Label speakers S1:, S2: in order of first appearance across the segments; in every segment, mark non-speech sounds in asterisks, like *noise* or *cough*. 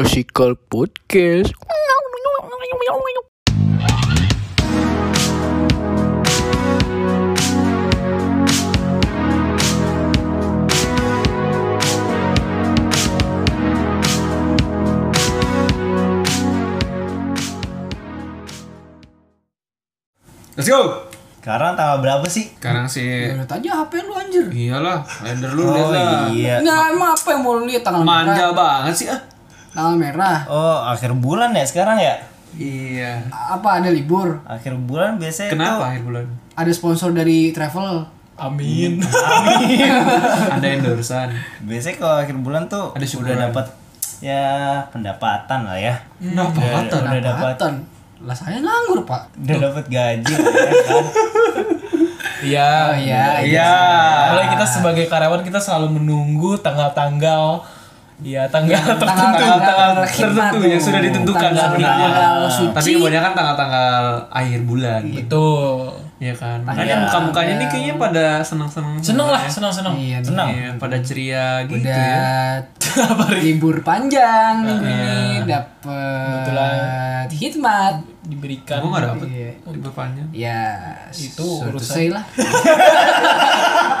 S1: Classical Podcast.
S2: Let's go.
S3: Sekarang tanggal berapa sih?
S2: Sekarang sih
S4: Lihat aja HP lu anjir.
S2: iyalah, lender lu lihat lah.
S3: iya.
S4: Nah, emang apa yang mau lu lihat tanggal merah?
S2: Manja banget sih ah.
S4: Tanggal merah.
S3: Oh, akhir bulan ya sekarang ya?
S2: Iya.
S4: Apa ada libur?
S3: Akhir bulan biasanya
S2: Kenapa akhir bulan?
S4: Ada sponsor dari travel?
S2: Amin. Ada endorsean.
S3: tuh biasanya kalau akhir bulan tuh
S2: Ada syukuran.
S3: udah dapat ya pendapatan lah ya.
S2: Pendapatan.
S3: udah dapat
S4: Baton. Lah saya nganggur, Pak.
S3: udah dapat gaji lah ya kan.
S5: Iya,
S4: iya,
S2: Iya.
S5: Mulai kita sebagai karyawan kita selalu menunggu tanggal-tanggal ya tanggal tertentu
S4: tanggal
S2: Tertentu yang sudah ditentukan
S4: Tanggal-
S2: sebenarnya.
S4: tanggal suci.
S2: Tapi kebanyakan tanggal-tanggal akhir bulan.
S5: Betul.
S2: Iya kan. Makanya muka-mukanya nih kayaknya pada senang-senang.
S5: Seneng lah, seneng-seneng.
S4: Iya, nih.
S3: Senang.
S2: Iya, pada ceria gitu
S4: udah
S2: ya. *laughs* Iya.
S4: libur panjang minggu ini dapat hikmat.
S5: Diberikan.
S2: Gua enggak dapet libur panjang.
S4: Ya,
S5: Itu
S4: so to
S5: urusan-
S4: say lah.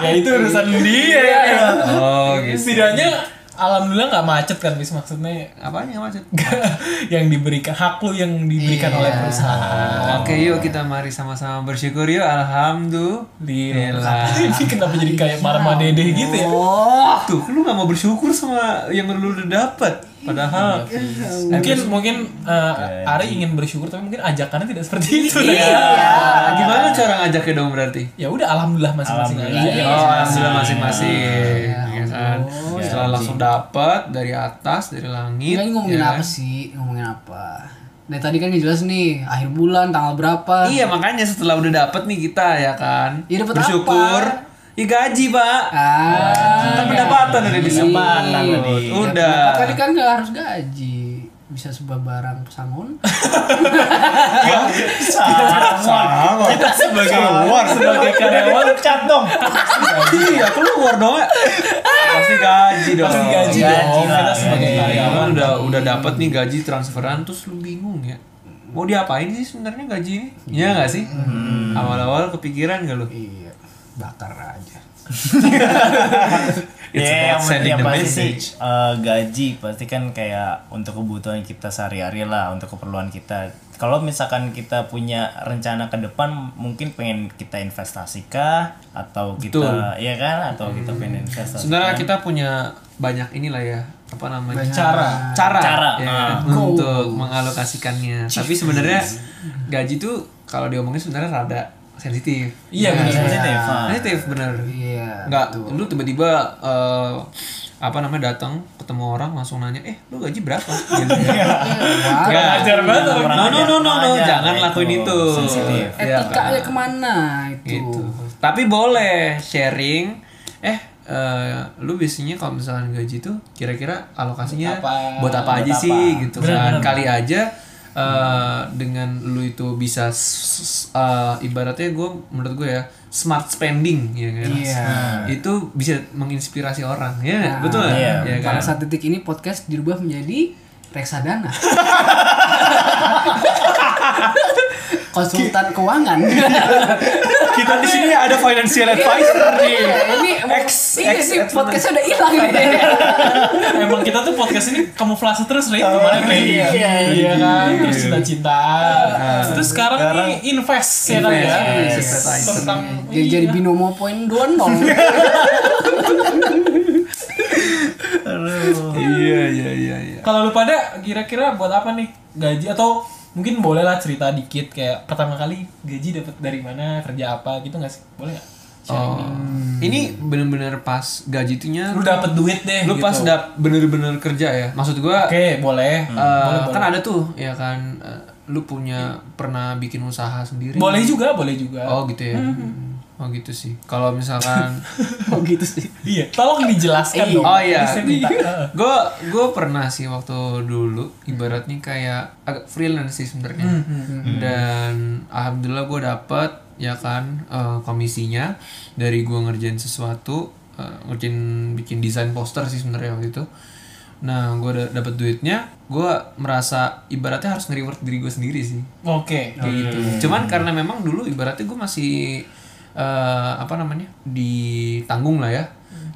S5: Ya itu urusan dia. ya.
S2: Iya, Oh, gitu.
S5: Setidaknya alhamdulillah nggak macet kan bis maksudnya *laughs*
S2: Apanya yang macet?
S5: yang diberikan hak lu yang diberikan oleh perusahaan.
S2: Oke yuk kita mari sama-sama bersyukur yuk Alhamdulillah
S5: *laughs* Ini kenapa jadi kayak marah dede gitu ya?
S2: Tuh lu gak mau bersyukur sama yang lu udah dapet
S5: Ya
S2: Padahal iya.
S5: Mungkin mungkin eh, Ari ingin bersyukur tapi mungkin ajakannya tidak seperti itu.
S2: Iya Gimana cara ngajaknya dong berarti?
S5: Ya udah alhamdulillah masing-masing Iya, aja.
S2: Oh alhamdulillah masing-masing ya kan? Setelah langsung dapet dari atas, dari langit
S4: Ini ngomongin
S2: ya.
S4: apa sih? Ngomongin apa? Dari tadi kan jelas nih, akhir bulan tanggal berapa?
S2: Iya makanya setelah udah dapet nih kita ya kan
S4: Ya, dapet
S2: Bersyukur Ya gaji pak
S4: Ah.
S2: Kan pendapatan udah disebut Udah
S4: Nah, tadi kan nggak harus gaji bisa sebuah barang pesangon
S3: Sama. Kita sebagai keluar sebagai karyawan cat dong.
S2: Iya, keluar dong. ya. Pasti gaji dong.
S5: Pasti gaji dong. Kita sebagai
S2: Iya,
S5: karyawan.
S2: kan udah udah dapat nih gaji transferan terus lu bingung ya. Mau diapain sih sebenarnya gaji ini? Iya nggak sih? Awal-awal kepikiran gak lu?
S4: iya bakar aja
S2: It's
S3: Ya,
S2: about
S3: yang penting
S2: sending the
S3: yang pasti sih
S2: message.
S3: eh, gaji pasti kan kayak untuk kebutuhan kita sehari-hari lah, untuk keperluan kita. Kalau misalkan kita punya rencana ke depan, mungkin pengen kita investasikah atau kita, ya kan, atau kita
S2: Hmm.
S3: pengen investasi.
S2: Sebenarnya kita punya banyak inilah ya apa namanya
S5: Cara.
S2: cara,
S3: Cara,
S2: ya, untuk mengalokasikannya tapi sebenarnya gaji tuh kalau diomongin sebenarnya rada sensitif
S5: Iya
S3: Nah,
S5: benar.
S3: sensitif, ah.
S2: sensitif bener
S4: iya
S2: nggak lu tiba-tiba eh, apa namanya datang ketemu orang langsung nanya eh lu gaji berapa gitu ya.
S4: Wah, eh,
S2: Nggak.
S5: Ajar banget. orang.
S2: no no no no, no.
S3: Makanya,
S2: jangan
S3: itu.
S2: lakuin itu
S3: Sensitif.
S2: ya,
S4: etika ya kemana itu
S2: gitu tapi boleh sharing eh eh, lu biasanya kalau misalkan gaji tuh kira-kira alokasinya buat apa aja sih gitu kan kali aja eh, dengan lu itu bisa s- s- eh, ibaratnya gue menurut gue ya smart spending ya kan
S4: Iya.
S2: itu bisa menginspirasi orang ya nggak? betul nggak?
S3: iya,
S2: ya kan
S4: pada saat titik ini podcast dirubah menjadi
S2: *laughs*
S4: reksadana konsultan keuangan
S2: Iya. kita di sini ada financial advisor nih
S4: Iya, *laughs* ini
S2: Ex-
S4: ini
S2: ex-
S4: sih
S2: ex-
S4: podcastnya udah hilang
S2: *laughs*
S4: nih.
S5: Emang kita tuh podcast ini kamuflase terus Ray kemarin Ray.
S3: iya, iya,
S5: Iya kan? Terus cinta-cintaan. Terus sekarang nih invest ya kan ya.
S2: Invest, invest.
S5: Tentang
S4: jadi jadi binomo point dua
S2: *laughs*
S4: nol
S2: iya iya iya iya
S5: kalau lu pada kira-kira buat apa nih gaji atau mungkin boleh lah cerita dikit kayak pertama kali gaji dapat dari mana kerja apa gitu nggak sih boleh nggak?
S2: Oh, ini bener-bener pas gaji itunya
S5: Lu dapat duit deh.
S2: lu
S5: gitu.
S2: pas dap bener-bener kerja ya maksud gua
S5: Oke Hmm. boleh. Ah,
S2: eh, kan ada tuh ya kan eh, lu punya pernah bikin usaha sendiri
S5: Boleh Hmm. juga boleh juga.
S2: oh gitu ya oh gitu sih kalau
S5: *laughs*
S2: misalkan
S4: oh gitu sih
S5: Iya. Tolong dijelaskan dong.
S2: oh iya
S5: Saya minta. eh.
S2: gue gue pernah sih waktu dulu ibaratnya kayak agak freelance sih sebenarnya
S5: Hmm,
S2: dan alhamdulillah gue dapet ya kan eh, komisinya dari gue ngerjain sesuatu eh, ngerjain bikin desain poster sih sebenarnya waktu itu Nah, gue da- dapet duitnya, gue merasa ibaratnya harus nge-reward diri gue sendiri sih.
S5: Oke.
S2: Kayak gitu. Cuman karena memang dulu ibaratnya gue masih eh, apa namanya ditanggung lah ya.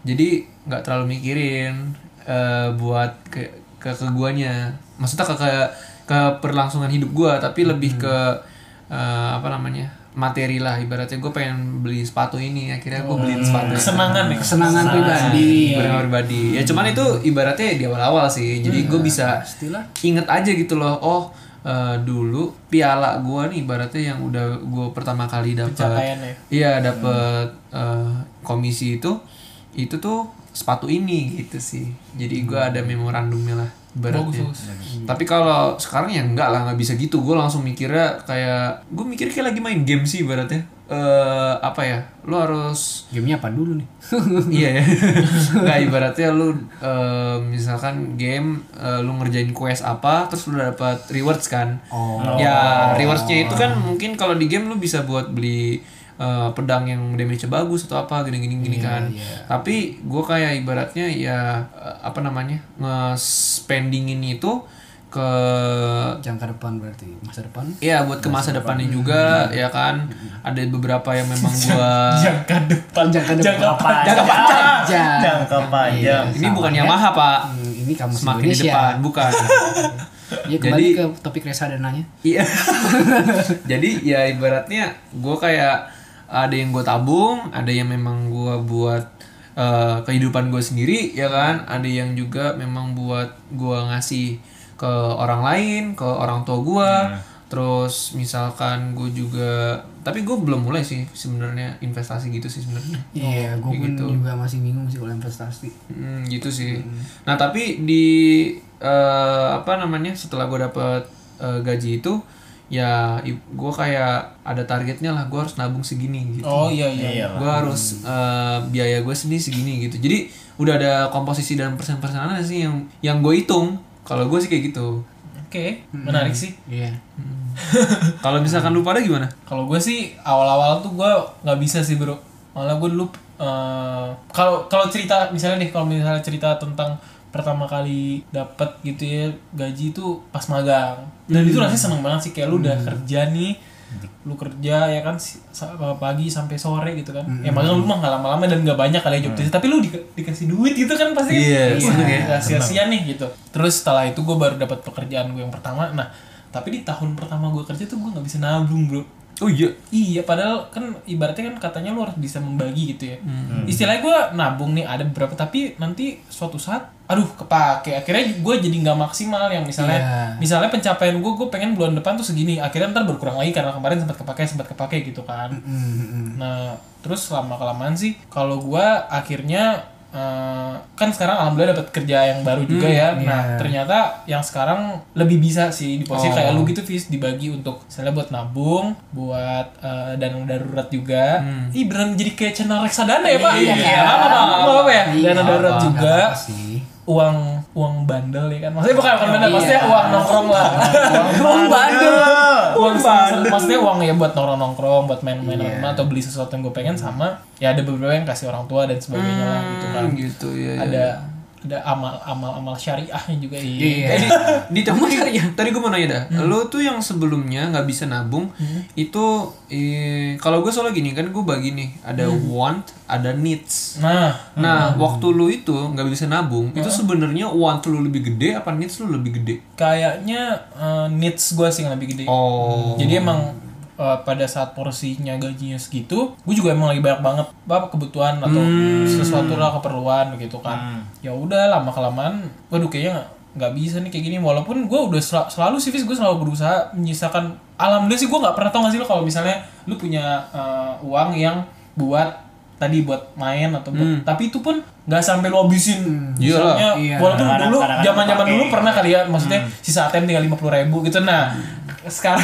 S2: Jadi nggak terlalu mikirin eh, buat ke ke, ke guanya. Maksudnya ke, ke ke perlangsungan hidup gua, tapi lebih ke eh, apa namanya materi lah. Ibaratnya gue pengen beli sepatu ini, akhirnya gue beliin sepatu.
S5: Kesenangan ya.
S4: kesenangan
S5: Iya.
S4: pribadi
S2: Kesenangan pribadi. Ya cuman itu ibaratnya di awal-awal sih.
S5: Iya,
S2: Jadi gue bisa
S4: pastilah
S2: inget aja gitu loh oh eh, dulu piala gua nih ibaratnya yang udah gua pertama kali dapat
S5: Pencapaian ya.
S2: iya dapat eh, komisi itu itu tuh sepatu ini gitu sih jadi
S5: Hmm.
S2: gua ada memorandumnya lah ibaratnya tapi kalau sekarang ya enggak lah nggak bisa gitu gue langsung mikirnya kayak gue mikir kayak lagi main game sih ibaratnya eh apa ya lu harus
S4: gamenya apa dulu nih *laughs*
S2: iya *laughs* ya nggak ibaratnya lu eh, misalkan game eh, lu ngerjain quest apa terus lu dapat rewards kan
S4: Oh.
S2: ya rewardsnya itu kan mungkin kalau di game lu bisa buat beli eh, pedang yang damage bagus atau apa gini gini gini kan tapi gue kayak ibaratnya ya eh, apa namanya nge spendingin itu ke
S4: jangka depan berarti masa depan
S2: Iya buat ke masa depannya juga ya kan ada beberapa yang *laughs* memang gua
S5: Jangka depan.
S4: jangka
S5: Jangka
S4: depan
S3: panjang
S4: panjang. Iya,
S3: jangka panjang
S2: ini bukan Yamaha pak
S4: Hmm, ini kamu
S2: semakin di depan bukan
S4: ya kembali
S2: Jadi-
S4: ke topik Resa dan Nanya
S2: *laughs* Iya. *laughs* Jadi ya ibaratnya gue kayak ada yang gue tabung, ada yang memang gue buat eh, kehidupan gue sendiri, ya kan. Ada yang juga memang buat gue ngasih ke orang lain, ke orang tua gue. Terus misalkan gue juga, tapi gue belum mulai sih sebenarnya investasi gitu sih sebenarnya.
S4: iya gue pun juga masih bingung sih kalau investasi
S2: Hmm, gitu sih. Nah tapi di eh, apa namanya setelah gue dapet eh, gaji itu ya gue kayak ada targetnya lah gue harus nabung segini gitu.
S5: Oh iya iya.
S3: iya
S2: Gue harus eh, biaya gue sendiri segini gitu. Jadi udah ada komposisi dan persen-persenan sih yang yang gue hitung. Kalau gue sih kayak gitu.
S5: Oke. Menarik sih.
S4: iya
S2: Kalau misalkan lu pada gimana?
S5: Kalau gue sih awal-awal tuh gue nggak bisa sih bro. Malah gue dulu eh, kalau kalau cerita misalnya nih kalau misalnya cerita tentang pertama kali dapat gitu ya gaji itu pas magang. Dan itu
S2: Hmm.
S5: rasanya seneng banget sih kayak lu udah kerja nih lu kerja ya kan si- sa- pagi sampai sore gitu kan ya
S2: Hmm.
S5: magang lu mah nggak lama-lama dan nggak banyak kali ya job desk. tapi lu di- dikasih duit gitu kan pasti
S2: Iya,
S5: Wah,
S2: seneng ya.
S5: nggak sia-sia nih gitu terus setelah itu gue baru dapat pekerjaan gue yang pertama nah tapi di tahun pertama gue kerja tuh gue nggak bisa nabung bro
S2: Oh iya.
S5: Iya, padahal kan ibaratnya kan katanya lu harus bisa membagi gitu ya.
S2: Hmm.
S5: Istilahnya gue nabung nih ada beberapa tapi nanti suatu saat, aduh kepake. Akhirnya gue jadi nggak maksimal yang misalnya, misalnya pencapaian gue gue pengen bulan depan tuh segini. Akhirnya ntar berkurang lagi karena kemarin sempat kepake sempat kepake gitu kan. Nah terus lama kelamaan sih, kalau gue akhirnya eh, kan sekarang alhamdulillah dapat kerja yang baru juga ya. Nah ternyata yang sekarang lebih bisa sih di posisi kayak lu gitu Fis dibagi untuk misalnya buat nabung, buat eh, dana darurat juga. Ih beneran jadi kayak channel reksadana ya pak? Iya. Apa apa apa, apa ya? Dana darurat juga.
S4: Iya. sih
S5: Uang uang bandel ya kan? Maksudnya bukan bukan bandel, maksudnya uang nongkrong lah. *laughs* uang bandel. Uang bandel. Iya. Maksudnya uang ya buat nongkrong nongkrong, buat main-main rumah atau beli sesuatu yang gue pengen sama. Ya ada beberapa yang kasih orang tua dan sebagainya lah gitu kan
S2: Hmm, gitu ya. ya.
S5: ada ada amal amal amal syariahnya juga iya.
S4: iya
S2: Jadi, di Hmm. tapi tadi gue mau nanya dah, lo tuh yang sebelumnya nggak bisa nabung itu eh, kalau gue soalnya gini kan gue bagi nih ada want, ada needs.
S5: Nah,
S2: Nah, waktu lu itu nggak bisa nabung, itu sebenarnya want lu lebih gede apa needs lu lebih gede?
S5: kayaknya eh, needs gue sih yang lebih gede.
S2: Oh.
S5: Jadi emang eh, pada saat porsinya gajinya segitu, gue juga emang lagi banyak banget apa kebutuhan atau
S2: Hmm.
S5: sesuatu lah keperluan gitu kan. Ya udah lama kelamaan, waduh kayaknya nggak- nggak bisa nih kayak gini walaupun gue udah sel- selalu sih gue selalu berusaha menyisakan alhamdulillah sih gue nggak pernah tau gak sih lo kalau misalnya lu punya eh, uang yang buat tadi buat main atau buat- tapi itu pun nggak sampai lu habisin
S2: Hmm. Iyalah.
S5: misalnya walaupun
S3: Kadang-kadang-
S5: dulu
S3: kadang-kadang
S5: zaman zaman dulu
S3: dipakai. Hmm.
S5: pernah kali ya maksudnya sisa ATM tinggal lima puluh ribu gitu nah
S3: *laughs*
S5: sekarang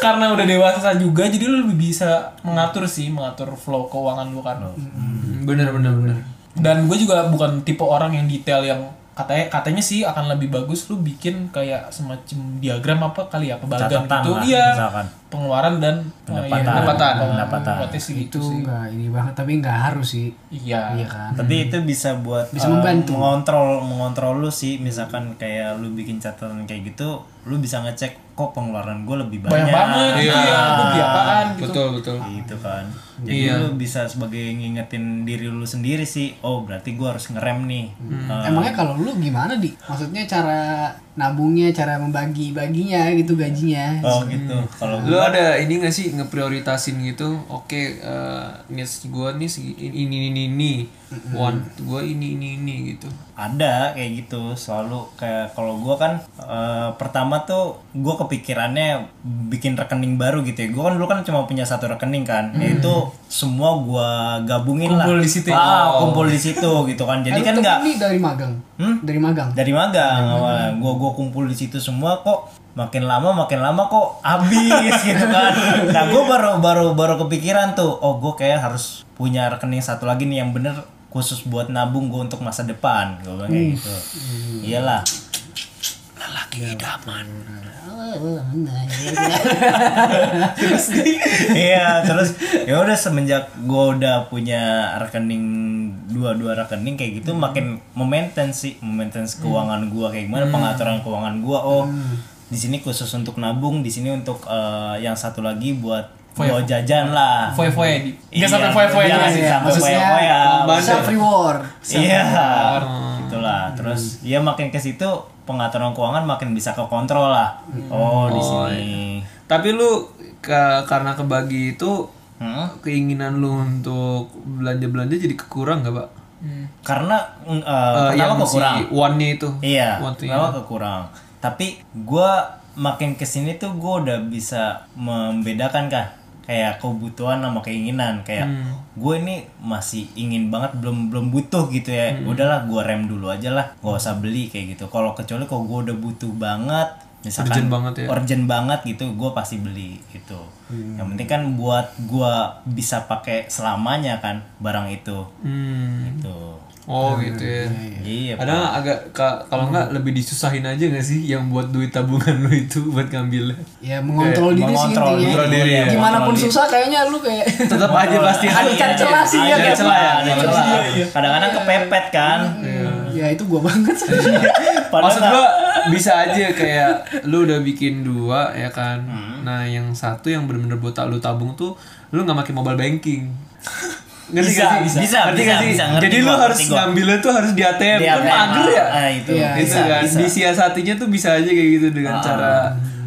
S5: karena udah dewasa juga jadi lu lebih bisa mengatur sih mengatur flow keuangan lu kan
S2: Hmm, Bener bener bener.
S5: dan gue juga bukan tipe orang yang detail yang katanya katanya sih akan lebih bagus lu bikin kayak semacam diagram apa kali ya pembagian
S3: Catatan
S5: gitu
S3: lah,
S5: iya
S3: misalkan.
S5: pengeluaran dan oh, iya,
S3: Pendapatan.
S5: pendapatan
S3: Pendapatan.
S5: Pendapatnya sih gitu
S4: itu
S5: sih
S4: nggak ini banget tapi nggak harus sih
S5: iya
S4: iya kan
S3: Tapi itu bisa buat
S4: Bisa
S3: eh,
S4: membantu.
S3: mengontrol mengontrol lu sih misalkan kayak lu bikin catatan kayak gitu, lu bisa ngecek kok pengeluaran gue lebih banyak. Nah,
S5: banyak banget
S2: Iya.
S5: iya, lu beli apaan gitu
S2: betul betul
S3: Gitu kan. Jadi
S2: Iya.
S3: lu bisa sebagai ngingetin diri lu sendiri sih, oh berarti gue harus ngerem nih.
S5: Hmm.
S3: Eh,
S4: Emangnya kalau lu gimana di? Maksudnya cara nabungnya, cara membagi-baginya gitu gajinya.
S3: oh gitu. Kalau
S2: lu ada ini gak sih ngeprioritasin gitu oke eh, needs gue nih segi- ini ini ini ini want gue ini ini ini gitu
S3: ada kayak gitu selalu kayak kalau gua kan eh, pertama tuh gua kepikirannya bikin rekening baru gitu ya gue kan dulu kan cuma punya satu rekening kan yaitu semua gua gabungin lah
S5: Hmm. Kumpul di situ. Oh.
S3: Ah, kumpul di situ gitu kan jadi
S4: Lu
S3: kan
S4: temen
S3: nggak
S4: nih dari magang. Dari magang.
S3: dari magang awalnya gua gua kumpul di situ semua kok makin lama makin lama kok habis *laughs* gitu kan nah gua baru baru baru kepikiran tuh oh gua kayak harus punya rekening satu lagi nih yang bener khusus buat nabung gua untuk masa depan gua bilang kayak gitu iyalah *laughs* iya terus ya udah semenjak gua udah punya rekening dua dua rekening kayak gitu
S5: Hmm.
S3: makin memaintain sih memaintain keuangan gua kayak
S5: Hmm.
S3: gimana pengaturan keuangan gua oh di sini khusus untuk nabung di sini untuk eh, yang satu lagi buat buat jajan lah
S5: foya foya di
S3: Iya,
S5: nggak sampai foya ya. foya
S3: jangan
S5: sih
S3: sampai
S4: Maksudnya
S3: foya-foya.
S4: self reward.
S3: Iya,
S5: Hmm.
S3: gitulah. Terus ya makin ke situ pengaturan keuangan makin bisa ke kontrol lah.
S5: Hmm.
S3: Oh, di sini.
S5: iya.
S2: tapi lu ke- karena kebagi itu
S3: Hmm?
S2: keinginan lu untuk belanja belanja jadi kekurang gak pak
S3: Karena mm, eh,
S2: Eh,
S3: pertama kekurang.
S2: si one nya itu
S3: Iya,
S2: One to
S3: pertama kekurang. Tapi gua makin ke sini tuh gua udah bisa membedakan kan kayak kebutuhan sama keinginan kayak
S2: Hmm.
S3: gue ini masih ingin banget belum belum butuh gitu ya
S2: Hmm.
S3: udahlah gua rem dulu aja lah gak usah beli kayak gitu kalau kecuali kalau gue udah butuh banget misalkan
S2: Urgent banget ya. Hmm.
S3: urgent banget gitu gue pasti beli gitu yang penting kan buat gua bisa pakai selamanya kan barang itu
S2: Hmm.
S3: gitu
S2: oh gitu ya
S3: iya Hmm.
S2: ada nggak agak ka- kalau nggak lebih disusahin aja nggak sih yang buat duit tabungan *laughs* lu itu buat ngambilnya
S4: Ya mengontrol diri sih
S3: mengontrol
S4: intinya.
S3: diri, ya,
S4: Gimana
S3: mengontrol Iya,
S4: pun
S3: diri.
S4: susah kayaknya lu kayak
S2: tetap aja pasti
S4: *laughs* Ada
S2: ada
S4: celah sih
S2: Iya,
S4: ya.
S3: ada
S4: kayak-
S3: celah ya, ada celah. Kadang-kadang kepepet kan.
S4: Ya itu gua banget.
S3: *laughs*
S2: Iya.
S3: Padahal
S2: maksud gua bisa aja kayak lu udah bikin dua ya kan
S3: Hmm.
S2: nah yang satu yang bener-bener buat ta- lu tabung tuh lu nggak pakai mobile banking ngerti
S3: Bisa,
S2: gak sih?
S3: bisa, bisa,
S2: ngerti gak sih?
S3: bisa, ngerti
S2: Jadi lu
S3: gua,
S2: harus
S3: ngerti gua.
S2: ngambilnya tuh harus di ATM,
S3: Di
S2: kan
S3: ATM,
S2: mager ya?
S3: ah, itu.
S4: Iya,
S2: gitu
S3: Bisa,
S2: kan.
S3: bisa. Ah.
S2: Disiasatinya tuh bisa aja kayak gitu dengan cara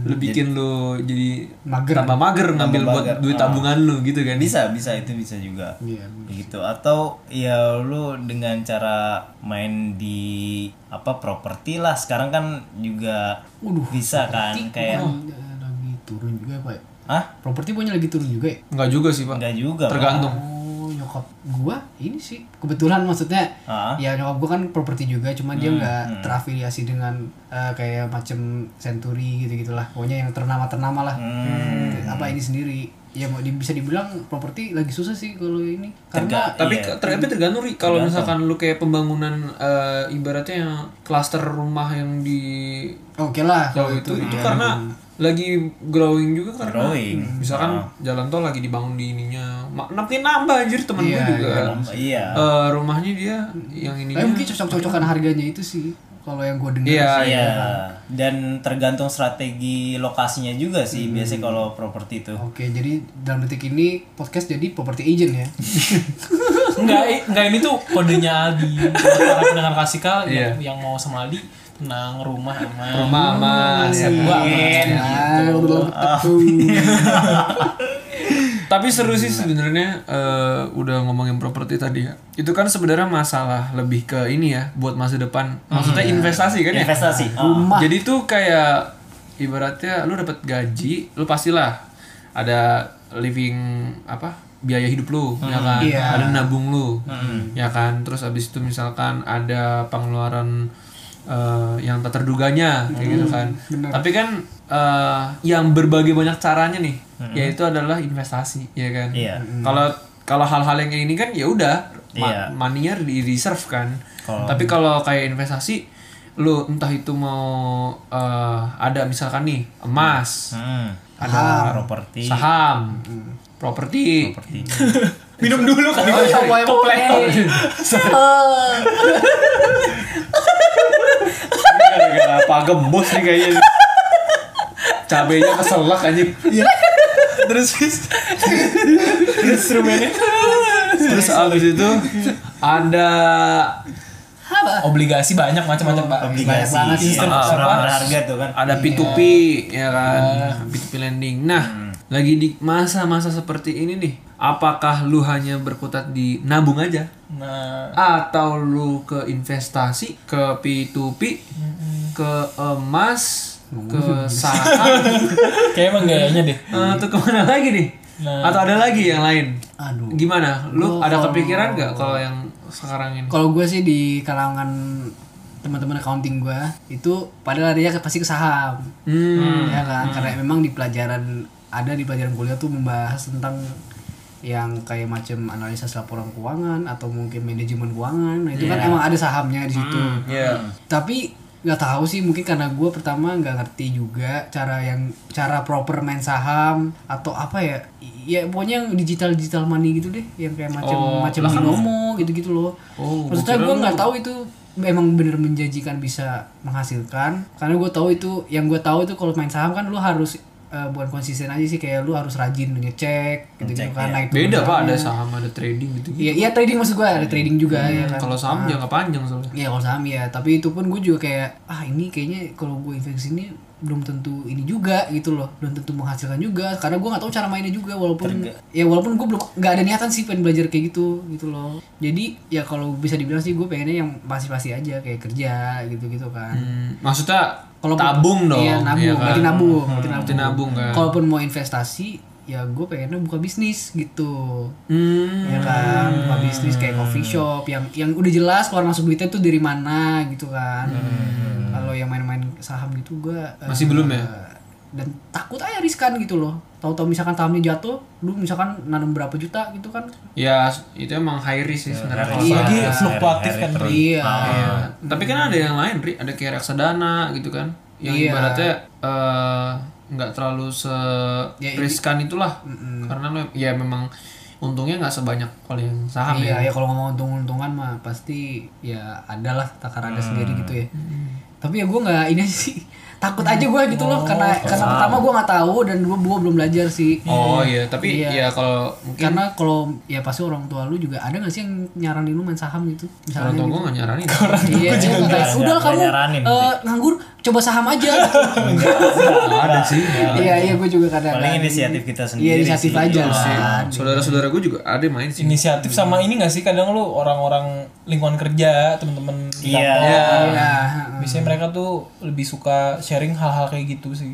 S2: lu bikin lu jadi
S4: Mager.
S2: tambah mager ngambil buat
S3: mager,
S2: duit
S3: ah.
S2: tabungan lu gitu kan.
S3: bisa, bisa itu bisa juga.
S4: Iya.
S3: Gitu atau ya lu dengan cara main di apa properti lah sekarang kan juga bisa kan kayak
S4: Lagi turun juga Pak.
S3: ah
S4: Properti punya lagi turun juga ya?
S2: Enggak juga sih, Pak.
S3: enggak juga Pak.
S2: Tergantung.
S4: Oh, nyokap gua ini sih kebetulan maksudnya
S3: Ah. Hmm,
S4: ya nyokap gua kan properti juga cuma dia nggak terafiliasi dengan eh, kayak macam Century gitu gitulah pokoknya yang ternama ternama lah
S3: Hmm.
S4: apa ini sendiri ya mau di- bisa dibilang properti lagi susah sih kalau ini Kan karena
S3: Terga-
S2: tapi
S3: iya.
S2: ke- ter- tapi tergantung Ri. kalau misalkan lu kayak pembangunan eh, ibaratnya yang klaster rumah yang di
S4: oke lah
S2: jauh
S3: Ah,
S4: kalau
S2: itu
S3: ya.
S2: itu karena lagi growing juga karena
S3: Growing. Ah.
S2: misalkan jalan tol lagi dibangun di ininya Ma- makin nambah anjir temen gue juga
S3: Iya. Eh,
S2: Eh, rumahnya dia yang ini
S4: tapi mungkin cocok-cocokan harganya itu sih kalau yang gua dengar
S2: iya iya
S3: Iya. Dan tergantung strategi lokasinya juga sih biasanya kalau properti itu.
S4: Oke, jadi dalam detik ini podcast jadi properti agent ya.
S5: Enggak, i- enggak ini tuh kodenya Aldi. Buat Para pendengar klasikal yang,
S3: Iya.
S5: yang mau sama Aldi, tenang rumah aman.
S2: rumah
S3: Ah,
S2: aman ya.
S5: Gua aman.
S4: Ah, betul.
S2: tapi seru sih sebenarnya eh, udah ngomongin properti tadi ya itu kan sebenarnya masalah lebih ke ini ya buat masa depan maksudnya investasi kan ya
S3: Investasi. ah.
S2: Jadi tuh kayak ibaratnya lu dapat gaji, lu pastilah ada living apa biaya hidup lu,
S3: Hmm.
S2: ya kan?
S4: Iya.
S2: Ada nabung lu, ya kan? Terus abis itu misalkan ada pengeluaran eh, yang tak terduganya, kayak gitu kan. Tapi kan eh, yang berbagai banyak caranya nih, yaitu adalah investasi, ya kan?
S3: Hmm. Iya.
S2: Kalau kalau hal-hal yang kayak ini kan ya udah,
S3: Iya.
S2: ma- money-nya di reserve kan. Tapi kalau kayak investasi lu entah itu mau eh, ada misalkan nih emas,
S3: Hmm.
S4: Ah.
S2: ada
S3: Properti.
S2: saham, properti, *laughs*
S5: Minum dulu kan.
S4: Oh, iya, boy, boy.
S2: gara-gara pagem bos nih kayaknya cabenya keselak anjing
S4: Iya.
S5: Terus instrumennya
S2: terus abis itu ada
S5: obligasi banyak macam-macam pak.
S3: Oh, Obligasi.
S4: Banyak banget sih.
S3: Iya,
S5: Apa?
S3: Surat berharga tuh kan.
S2: ada P2P ya kan P2P lending nah lagi di masa-masa seperti ini nih apakah lu hanya berkutat di nabung aja
S5: Nah,
S2: atau lu ke investasi ke P2P ke emas ke saham Eh,
S5: kayak emang gayanya deh.
S2: atau kemana lagi nih
S5: Nah.
S2: atau ada lagi yang lain
S4: Aduh.
S2: gimana lu
S4: Gua
S2: ada
S4: kalau-
S2: kepikiran nggak kalau yang sekarang ini
S4: Kalau gue sih di kalangan teman-teman accounting gue itu pada larinya ke- pasti ke saham, ya kan? Karena memang di pelajaran ada di pelajaran kuliah tuh membahas tentang yang kayak macam analisa laporan keuangan atau mungkin manajemen keuangan. Nah itu kan emang ada sahamnya di situ. Tapi nggak tahu sih mungkin karena gue pertama nggak ngerti juga cara yang cara proper main saham atau apa ya ya pokoknya yang digital digital money gitu deh yang kayak macam macam binomo gitu gitu loh
S2: ya? Oh,
S4: maksudnya gue nggak tahu itu emang bener menjanjikan bisa menghasilkan karena gue tahu itu yang gue tahu itu kalau main saham kan lu harus eh, bukan konsisten aja sih kayak lu harus rajin ngecek gitu gitu kan naik turun
S2: beda pak ada
S4: sahamnya.
S2: saham ada trading gitu gitu
S4: iya iya trading maksud gue ada trading juga ya kan
S2: Hmm, kalau saham jangka panjang soalnya
S4: Iya kalau saham ya, tapi itu pun gue juga kayak ah ini kayaknya kalau gue invest ini belum tentu ini juga gitu loh, belum tentu menghasilkan juga karena gue nggak tahu cara mainnya juga walaupun ya walaupun gue belum nggak ada niatan sih pengen belajar kayak gitu gitu loh. Jadi ya kalau bisa dibilang sih gue pengennya yang pasti-pasti aja kayak kerja gitu-gitu kan.
S2: Hmm, maksudnya
S4: Kalau
S2: tabung dong
S4: Iya nabung,
S2: ya
S4: berarti
S2: kan?
S4: nabung, berarti nabung.
S2: Berarti nabung, kan.
S4: Kalaupun mau investasi ya gue pengennya buka bisnis gitu
S2: Hmm,
S4: ya kan buka bisnis kayak coffee shop yang yang udah jelas keluar masuk duitnya tuh dari mana gitu kan kalau yang main-main saham gitu gua eh,
S2: Hmm. Masih belum ya?
S4: dan takut aja riskan gitu loh tahu-tahu misalkan sahamnya jatuh lu misalkan nanam berapa juta gitu kan
S2: ya itu emang high risk sih sebenarnya Ya, kalau
S5: Iya,
S2: saham.
S5: lagi fluktuatif kan. Bro.
S4: iya
S2: Iya. tapi kan ada yang lain Ri. ada kayak reksadana gitu kan yang
S4: Iya.
S2: ibaratnya eh, nggak terlalu se
S4: Ya,
S2: riskan itulah karena lo ya memang untungnya nggak sebanyak kalau yang saham ya
S4: iya ya kalau ngomong untung-untungan mah pasti ya adalah takarannya sendiri
S2: Hmm.
S4: gitu ya tapi ya gue nggak ini *laughs* aja sih takut aja gue gitu loh karena karena pertama gue nggak tahu dan gue gue belum belajar sih
S2: oh iya tapi
S4: Iya.
S2: ya kalau mungkin
S4: Karena kalau ya pasti orang tua lu juga ada gak sih yang nyaranin lu main saham gitu?
S2: orang
S4: Misalnya
S2: tua
S4: gitu.
S2: gue nggak nyaranin
S4: Iya, iya,
S3: juga
S4: kayak,
S3: nggak-
S4: udah
S3: nggak
S4: kamu
S3: nyaranin
S4: eh,
S3: sih."
S4: nganggur coba saham aja. gitu.
S2: ada sih
S4: Iya, iya gue juga kadang.
S3: Paling inisiatif kita sendiri.
S4: Iya, inisiatif
S3: sih.
S4: aja sih. Iya.
S2: saudara-saudara gue juga ada main sih
S5: Inisiatif sama ini gak sih kadang lu orang-orang lingkungan kerja, temen-temen di
S3: Iya.
S5: kantor.
S4: Iya.
S5: Biasanya mereka tuh lebih suka sharing hal-hal kayak gitu sih.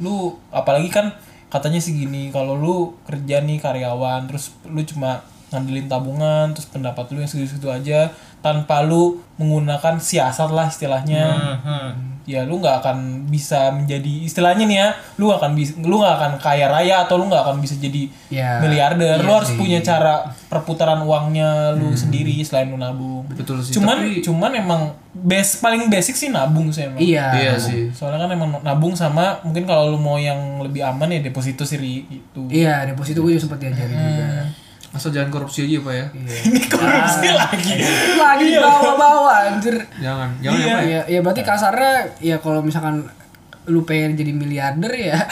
S5: Lu apalagi kan katanya segini kalau lu kerja nih karyawan terus lu cuma ngandelin tabungan terus pendapat lu yang segitu-segitu aja tanpa lu menggunakan siasat lah istilahnya. Ya lu nggak akan bisa menjadi istilahnya nih ya, lu nggak akan bisa lu nggak akan kaya raya atau lu nggak akan bisa jadi
S4: Ya,
S5: miliarder. lu harus punya cara perputaran uangnya lu sendiri selain lu nabung
S2: betul sih
S5: cuman
S2: Tapi-
S5: cuman emang base paling basic sih nabung sih emang
S4: Iya.
S2: iya sih
S5: soalnya kan emang nabung sama mungkin kalau lu mau yang lebih aman ya deposito sih Ri, gitu
S4: Iya, deposito gue juga sempat diajarin juga. Iya.
S2: asal jangan korupsi aja pak ya
S5: korupsi lagi *laughs*
S4: Lagi bawa-bawa anjir.
S2: jangan jangan ya pak ya
S4: Iya, ya berarti kasarnya ya kalau misalkan lu pengen jadi miliarder ya. *laughs*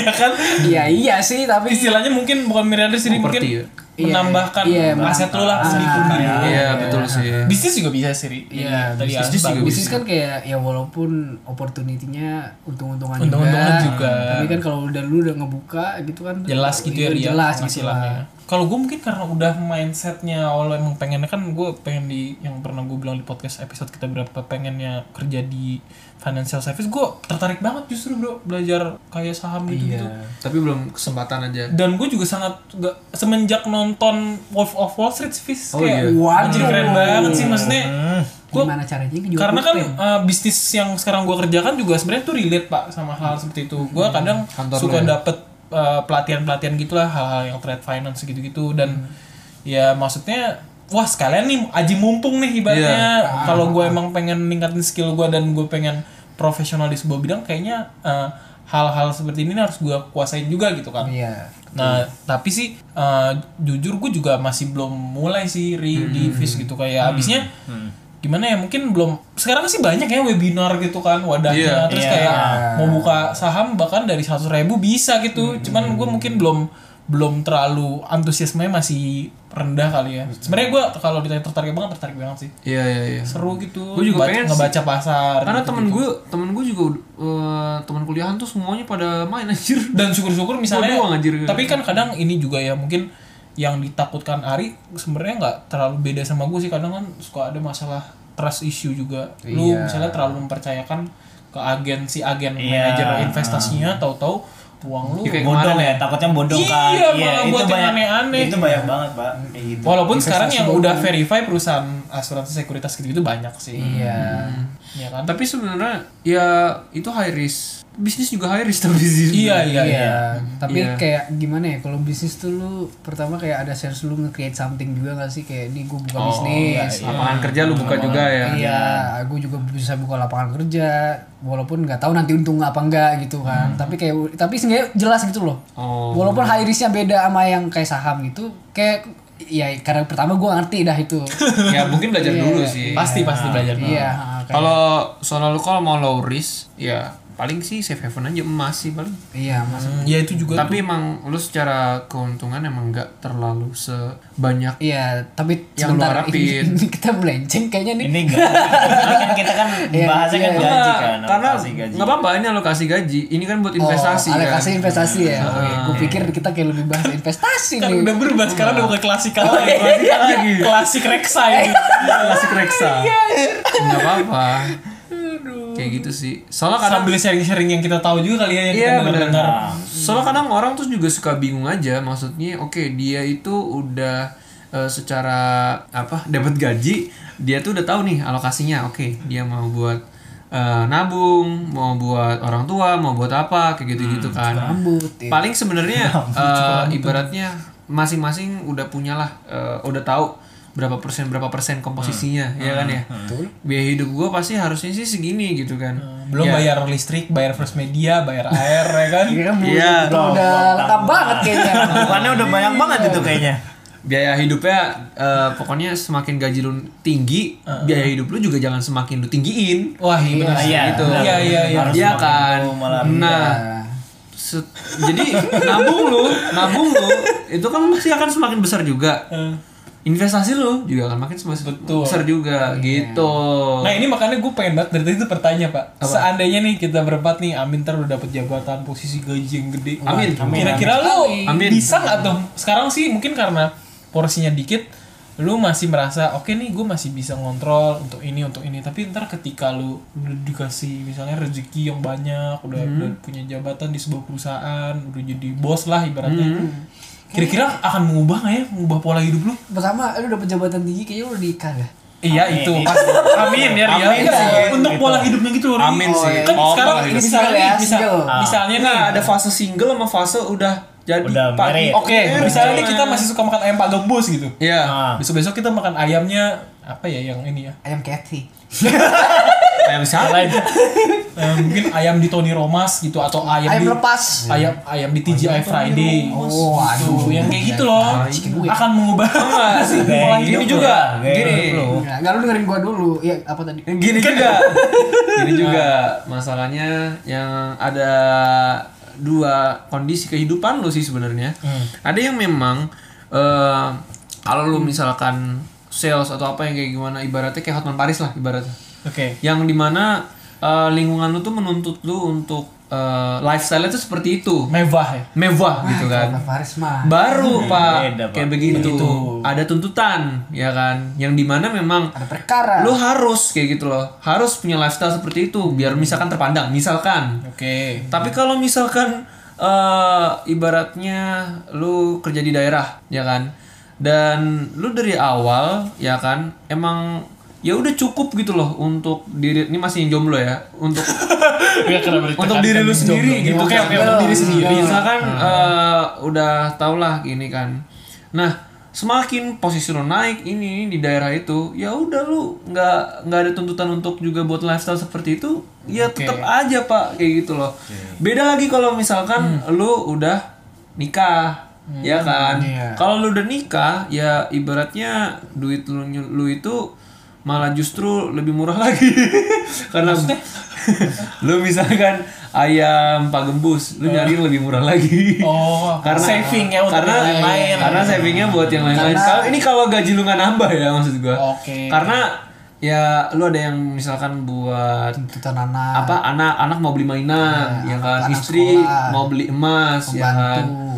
S5: ya kan
S4: Iya, iya sih, tapi
S5: istilahnya mungkin bukan miliarder sih Ri, mungkin
S2: Properti ya?
S5: menambahkan
S4: Iya, iya,
S5: aset lu lah sedikit
S2: iya betul sih
S5: bisnis juga bisa sih Ri.
S4: Iya,
S5: Tadi
S4: bisnis,
S5: Asbak.
S2: juga
S4: bisnis kan kayak ya walaupun opportunity-nya untung-untungan
S5: Untung-untungan
S4: juga,
S5: juga.
S4: Tapi kan kalau udah lu udah ngebuka gitu kan
S5: jelas gitu ya
S4: iya,
S5: Ria ya.
S4: Jelas gitu
S5: penghasilannya.
S4: lah.
S5: Kalau gue mungkin karena udah mindsetnya awal emang pengennya kan gue pengen di yang pernah gue bilang di podcast episode kita berapa pengennya kerja di financial service gue tertarik banget justru bro belajar kayak saham
S4: Iya.
S5: gitu gitu.
S2: tapi belum kesempatan aja
S5: Dan gue juga sangat gak, semenjak nonton Wolf of Wall Street Fis
S2: Oh,
S5: kayak
S2: iya.
S5: wah, anjir, keren banget sih maksudnya. Gue
S4: Gimana caranya ini jual
S5: karena kan
S4: pulpen?
S5: uh, bisnis yang sekarang gua kerjakan juga sebenarnya tuh relate pak sama hal seperti itu gua kadang
S2: Kantor
S5: suka
S2: lo ya?
S5: dapet eh, uh, pelatihan pelatihan gitulah hal-hal yang trade finance gitu gitu dan ya maksudnya wah sekalian nih aji mumpung nih ibaratnya kalau gue emang pengen ningkatin skill gue dan gue pengen profesional di sebuah bidang kayaknya eh, hal-hal seperti ini harus gue kuasain juga gitu kan
S4: Iya.
S5: Nah, tapi sih eh, jujur gue juga masih belum mulai sih Ri di Viz
S2: Hmm.
S5: gitu kayak habisnya gimana ya mungkin belum sekarang sih banyak ya webinar gitu kan wadahnya terus
S3: Iya.
S5: kayak mau buka saham bahkan dari 100.000 ribu bisa gitu
S2: Hmm.
S5: cuman gue mungkin belum belum terlalu antusiasmenya masih rendah kali ya sebenarnya gue kalau ditanya tertarik banget tertarik banget sih
S2: Iya iya iya.
S5: seru gitu
S2: Gua juga
S5: baca-
S2: pengen sih.
S5: ngebaca pasar
S2: Karena
S5: gitu.
S2: temen gue, temen gue juga eh, temen kuliahan tuh semuanya pada main anjir.
S5: dan syukur-syukur misalnya
S2: Gua doang, anjir.
S5: tapi kan kadang ini juga ya mungkin yang ditakutkan Ari sebenarnya nggak terlalu beda sama gue sih kadang kan suka ada masalah trust issue juga lu misalnya terlalu mempercayakan ke agen si agen
S3: Iya.
S5: manajer investasinya
S2: Hmm.
S5: tahu-tahu uang lu
S2: Ya, kayak
S3: bodong
S2: kemarin
S3: ya takutnya bodong
S5: Iya,
S3: kan
S5: malah buat yang aneh-aneh.
S3: itu banyak banget pak kayak gitu
S5: walaupun sekarang yang udah verify perusahaan asuransi sekuritas gitu gitu banyak sih
S4: Iya.
S5: Iya kan
S2: Tapi sebenarnya ya itu high risk. Bisnis juga high risk tapi bisnis.
S5: iya iya iya
S4: Iya, tapi
S2: Iya.
S4: kayak gimana ya kalau bisnis tuh lu pertama kayak ada sense lu nge-create something juga gak sih kayak ini gue buka
S5: Oh, iya,
S4: bisnis.
S2: Lapangan kerja lu buka juga ya.
S4: Iya, gue juga bisa buka lapangan kerja walaupun nggak tahu nanti untung apa enggak gitu kan.
S5: Hmm.
S4: Tapi kayak tapi seenggaknya jelas gitu loh.
S2: Oh.
S4: Walaupun high risknya beda sama yang kayak saham gitu, kayak ya karena pertama gue ngerti dah
S2: *laughs*
S4: itu.
S2: Ya mungkin belajar dulu sih.
S5: pasti pasti belajar
S4: Iya, ha, kayak-
S2: Kalau soal lu kalau mau low risk, ya paling sih safe haven aja emas sih paling.
S4: iya mas.
S5: Hmm, ya itu juga
S2: Tapi emang lu secara keuntungan emang nggak terlalu sebanyak
S4: Iya, tapi
S2: Yang lu
S4: sebentar
S2: harapin.
S4: ini, *laughs* kita melenceng kayaknya nih.
S3: ini enggak kan kita kan bahasnya kan
S4: iya.
S3: gaji kan
S2: Nah, karena
S3: alokasi gaji
S2: nggak apa-apa ini alokasi gaji. Ini kan buat investasi
S4: oh,
S2: kan.
S4: alokasi investasi ya. Oke, gue pikir kita kayak lebih bahas investasi
S5: kan
S4: nih.
S5: udah berubah sekarang udah bukan klasikal lagi iya,
S2: lagi.
S5: klasik reksa *laughs* ini Iya,
S2: Klasik reksa. Nggak apa-apa. Kayak gitu sih. Soalnya kadang
S5: sambil sharing-sharing yang kita tahu juga kali ya yang
S2: Iya,
S5: kita
S2: bener.
S5: dengar
S2: soalnya kadang orang tuh juga suka bingung aja. Maksudnya oke dia itu udah eh, secara apa dapat gaji dia tuh udah tahu nih alokasinya. Oke dia mau buat eh, nabung, mau buat orang tua, mau buat apa kayak gitu-gitu kan.
S4: Rambut.
S5: iya.
S4: ya.
S2: paling
S5: *laughs*
S2: sebenarnya eh, ibaratnya masing-masing udah punyalah eh, udah tahu berapa persen berapa persen komposisinya ya kan ya biaya hidup gue pasti harusnya sih segini gitu kan
S5: Hmm, belum bayar listrik bayar first media bayar air ya kan
S4: Iya, bu,
S2: Iya.
S4: itu udah lengkap banget kayaknya.
S3: Bukannya udah banyak banget itu kayaknya
S2: biaya hidupnya eh, pokoknya semakin gaji lu tinggi biaya hidup lu juga jangan semakin lu tinggiin
S5: wah iya benar sih
S3: Iya,
S5: itu
S3: benar.
S5: iya iya iya
S3: Harus
S2: Iya
S3: makan
S2: kan
S3: dulu, malah
S2: nah se- jadi nabung lu nabung lu itu kan pasti akan semakin besar juga investasi lu juga akan makin semakin
S5: Betul.
S2: besar juga gitu
S5: nah ini makanya gue pengen banget dari tadi itu bertanya pak seandainya nih kita berempat nih Amin ntar udah dapet jabatan posisi gaji yang gede
S2: Amin.
S5: kira-kira lu
S2: Amin.
S5: bisa nggak tuh sekarang sih mungkin karena porsinya dikit lu masih merasa oke nih gue masih bisa ngontrol untuk ini untuk ini tapi ntar ketika lu udah dikasih misalnya rezeki yang banyak udah,
S2: Hmm.
S5: udah punya jabatan di sebuah perusahaan udah jadi bos lah ibaratnya
S2: Hmm.
S5: kira-kira akan mengubah nggak ya mengubah pola hidup lu
S4: Pertama, lu udah jabatan tinggi kayaknya lu udah nikah dah.
S5: Iya
S2: Nah,
S5: itu.
S2: *laughs*
S5: Amin ya Ria.
S3: Amin sih.
S5: Untuk pola hidupnya gitu Ria.
S2: Amin sih.
S5: Kan
S2: Oh,
S5: sekarang
S2: pola hidup.
S5: misalnya
S4: Single ya,
S5: nih, misal-
S4: single.
S5: misalnya nih
S2: Nah, ada fase single sama fase udah jadi
S3: Udah
S2: pak-
S3: married.
S2: Oke,
S5: misalnya nih kita masih suka makan ayam Pak Gembus gitu.
S2: Iya.
S3: Ah.
S5: Besok-besok kita makan ayamnya apa ya yang ini ya?
S4: Ayam Cathy.
S2: Ayam siapa?
S5: Eh, mungkin ayam di Tony Romas gitu atau ayam,
S4: Ayam
S5: di
S4: lepas.
S5: ayam ayam di TGI Friday.
S4: Oh, aduh.
S5: Tuh, yang kayak gitu loh. Akan mengubah sih *laughs* pola hidup
S3: Gaya
S2: Gini
S3: hidup
S2: juga.
S3: lu, gaya
S2: Gini.
S3: hidup lu.
S4: Enggak, enggak Iya, lu dengerin gua dulu. Ya, apa tadi?
S2: Gini
S3: Kan
S2: juga. Gini juga.
S3: Nah.
S2: Masalahnya yang ada dua kondisi kehidupan lu sih sebenarnya.
S3: Hmm.
S2: Ada yang memang eh, kalau lu misalkan sales atau apa yang kayak gimana ibaratnya kayak Hotman Paris lah ibaratnya.
S5: Oke.
S2: yang dimana eh, lingkungan lu tuh menuntut lu untuk eh, lifestyle-nya tuh seperti itu
S5: Mewah ya.
S2: mewah gitu kan
S4: Pak Faris mah.
S2: baru pak
S3: Ah, Hmm, beda, Pak. Iya,
S2: kayak begitu ada tuntutan ya kan yang dimana memang
S4: Ada perkara.
S2: lu harus kayak gitu loh harus punya lifestyle seperti itu biar misalkan terpandang misalkan
S5: Oke.
S2: tapi kalau misalkan eh ibaratnya lu kerja di daerah, ya kan? Dan lu dari awal, ya kan? Emang ya udah cukup gitu loh untuk diri ini masih yang jomblo ya, untuk untuk diri lu sendiri gitu
S5: Oke,
S2: Iya.
S5: oke, untuk diri sendiri.
S2: misalkan eh, udah tau lah gini kan nah semakin posisi lo naik ini, ini di daerah itu ya udah lu nggak nggak ada tuntutan untuk juga buat lifestyle seperti itu ya tetap aja pak kayak gitu loh beda lagi kalau misalkan lu udah nikah ya kan kalau lu udah nikah ya ibaratnya duit lu, lu itu malah justru lebih murah *laughs* lagi karena *laughs* lu misalkan ayam pak gembus lu nyari yang lebih murah lagi
S5: Oh,
S2: *laughs* karena
S5: saving ya untuk
S2: karena
S5: yang lain. Iya,
S2: karena savingnya buat yang lain-lain kalau ini kalau gaji lu nggak nambah ya maksud gua
S5: Oke.
S2: karena ya lu ada yang misalkan buat
S4: tuntutan anak
S2: apa anak anak mau beli mainan
S5: Iya,
S2: ya, kan
S4: anak
S2: istri
S4: sekolah.
S2: mau beli emas ya kan
S4: bantu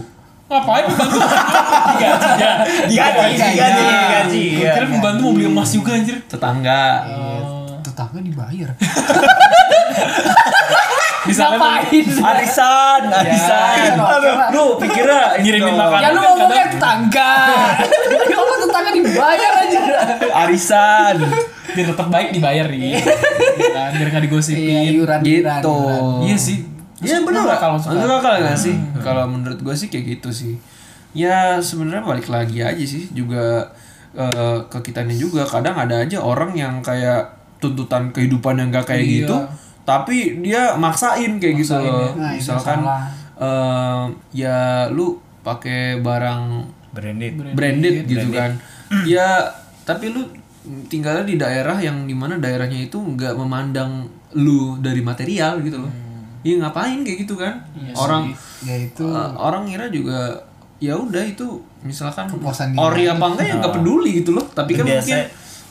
S5: Ngapain membantu? Digaji ya.
S3: Gaji, gaji, gaji, gaji.
S5: Gue kira membantu mau beli emas juga anjir.
S2: tetangga
S5: Iya.
S4: Gitu. tetangga dibayar
S2: misalnya arisan arisan Aduh, lu
S5: Iya.
S2: pikirnya ini
S5: Ngirimin
S2: dong.
S5: makanan.
S4: ya lu
S5: Kadang-
S4: ngomongnya tetangga ya Allah tetangga dibayar aja
S2: arisan
S5: Biar tetap baik dibayar nih. Kan, biar nggak
S4: iya
S5: digosipin.
S4: iuran
S2: gitu
S5: Iya sih.
S2: Iya bener lah
S5: Kalau suka. Iya.
S2: Masuk akal nggak sih? Kalau menurut gue sih kayak gitu sih. Ya sebenarnya balik lagi aja sih juga eh, ke kitanya juga. Kadang ada aja orang yang kayak tuntutan kehidupan yang
S5: Iya.
S2: gak kayak gitu, tapi dia maksain kayak gitu
S5: ya.
S2: loh.
S4: Nah, itu
S2: Misalkan
S4: salah.
S2: eh, ya lu pakai barang
S3: Branded.
S2: branded, gitu kan ya tapi lu tinggalnya di daerah yang dimana daerahnya itu nggak memandang lu dari material gitu loh Iya ngapain kayak gitu kan orang
S4: ya itu
S2: eh, orang ngira juga ya udah itu misalkan
S4: Kepuasan diri.
S2: ori apa enggak ya nggak peduli gitu loh tapi kan
S3: Biasa.
S2: mungkin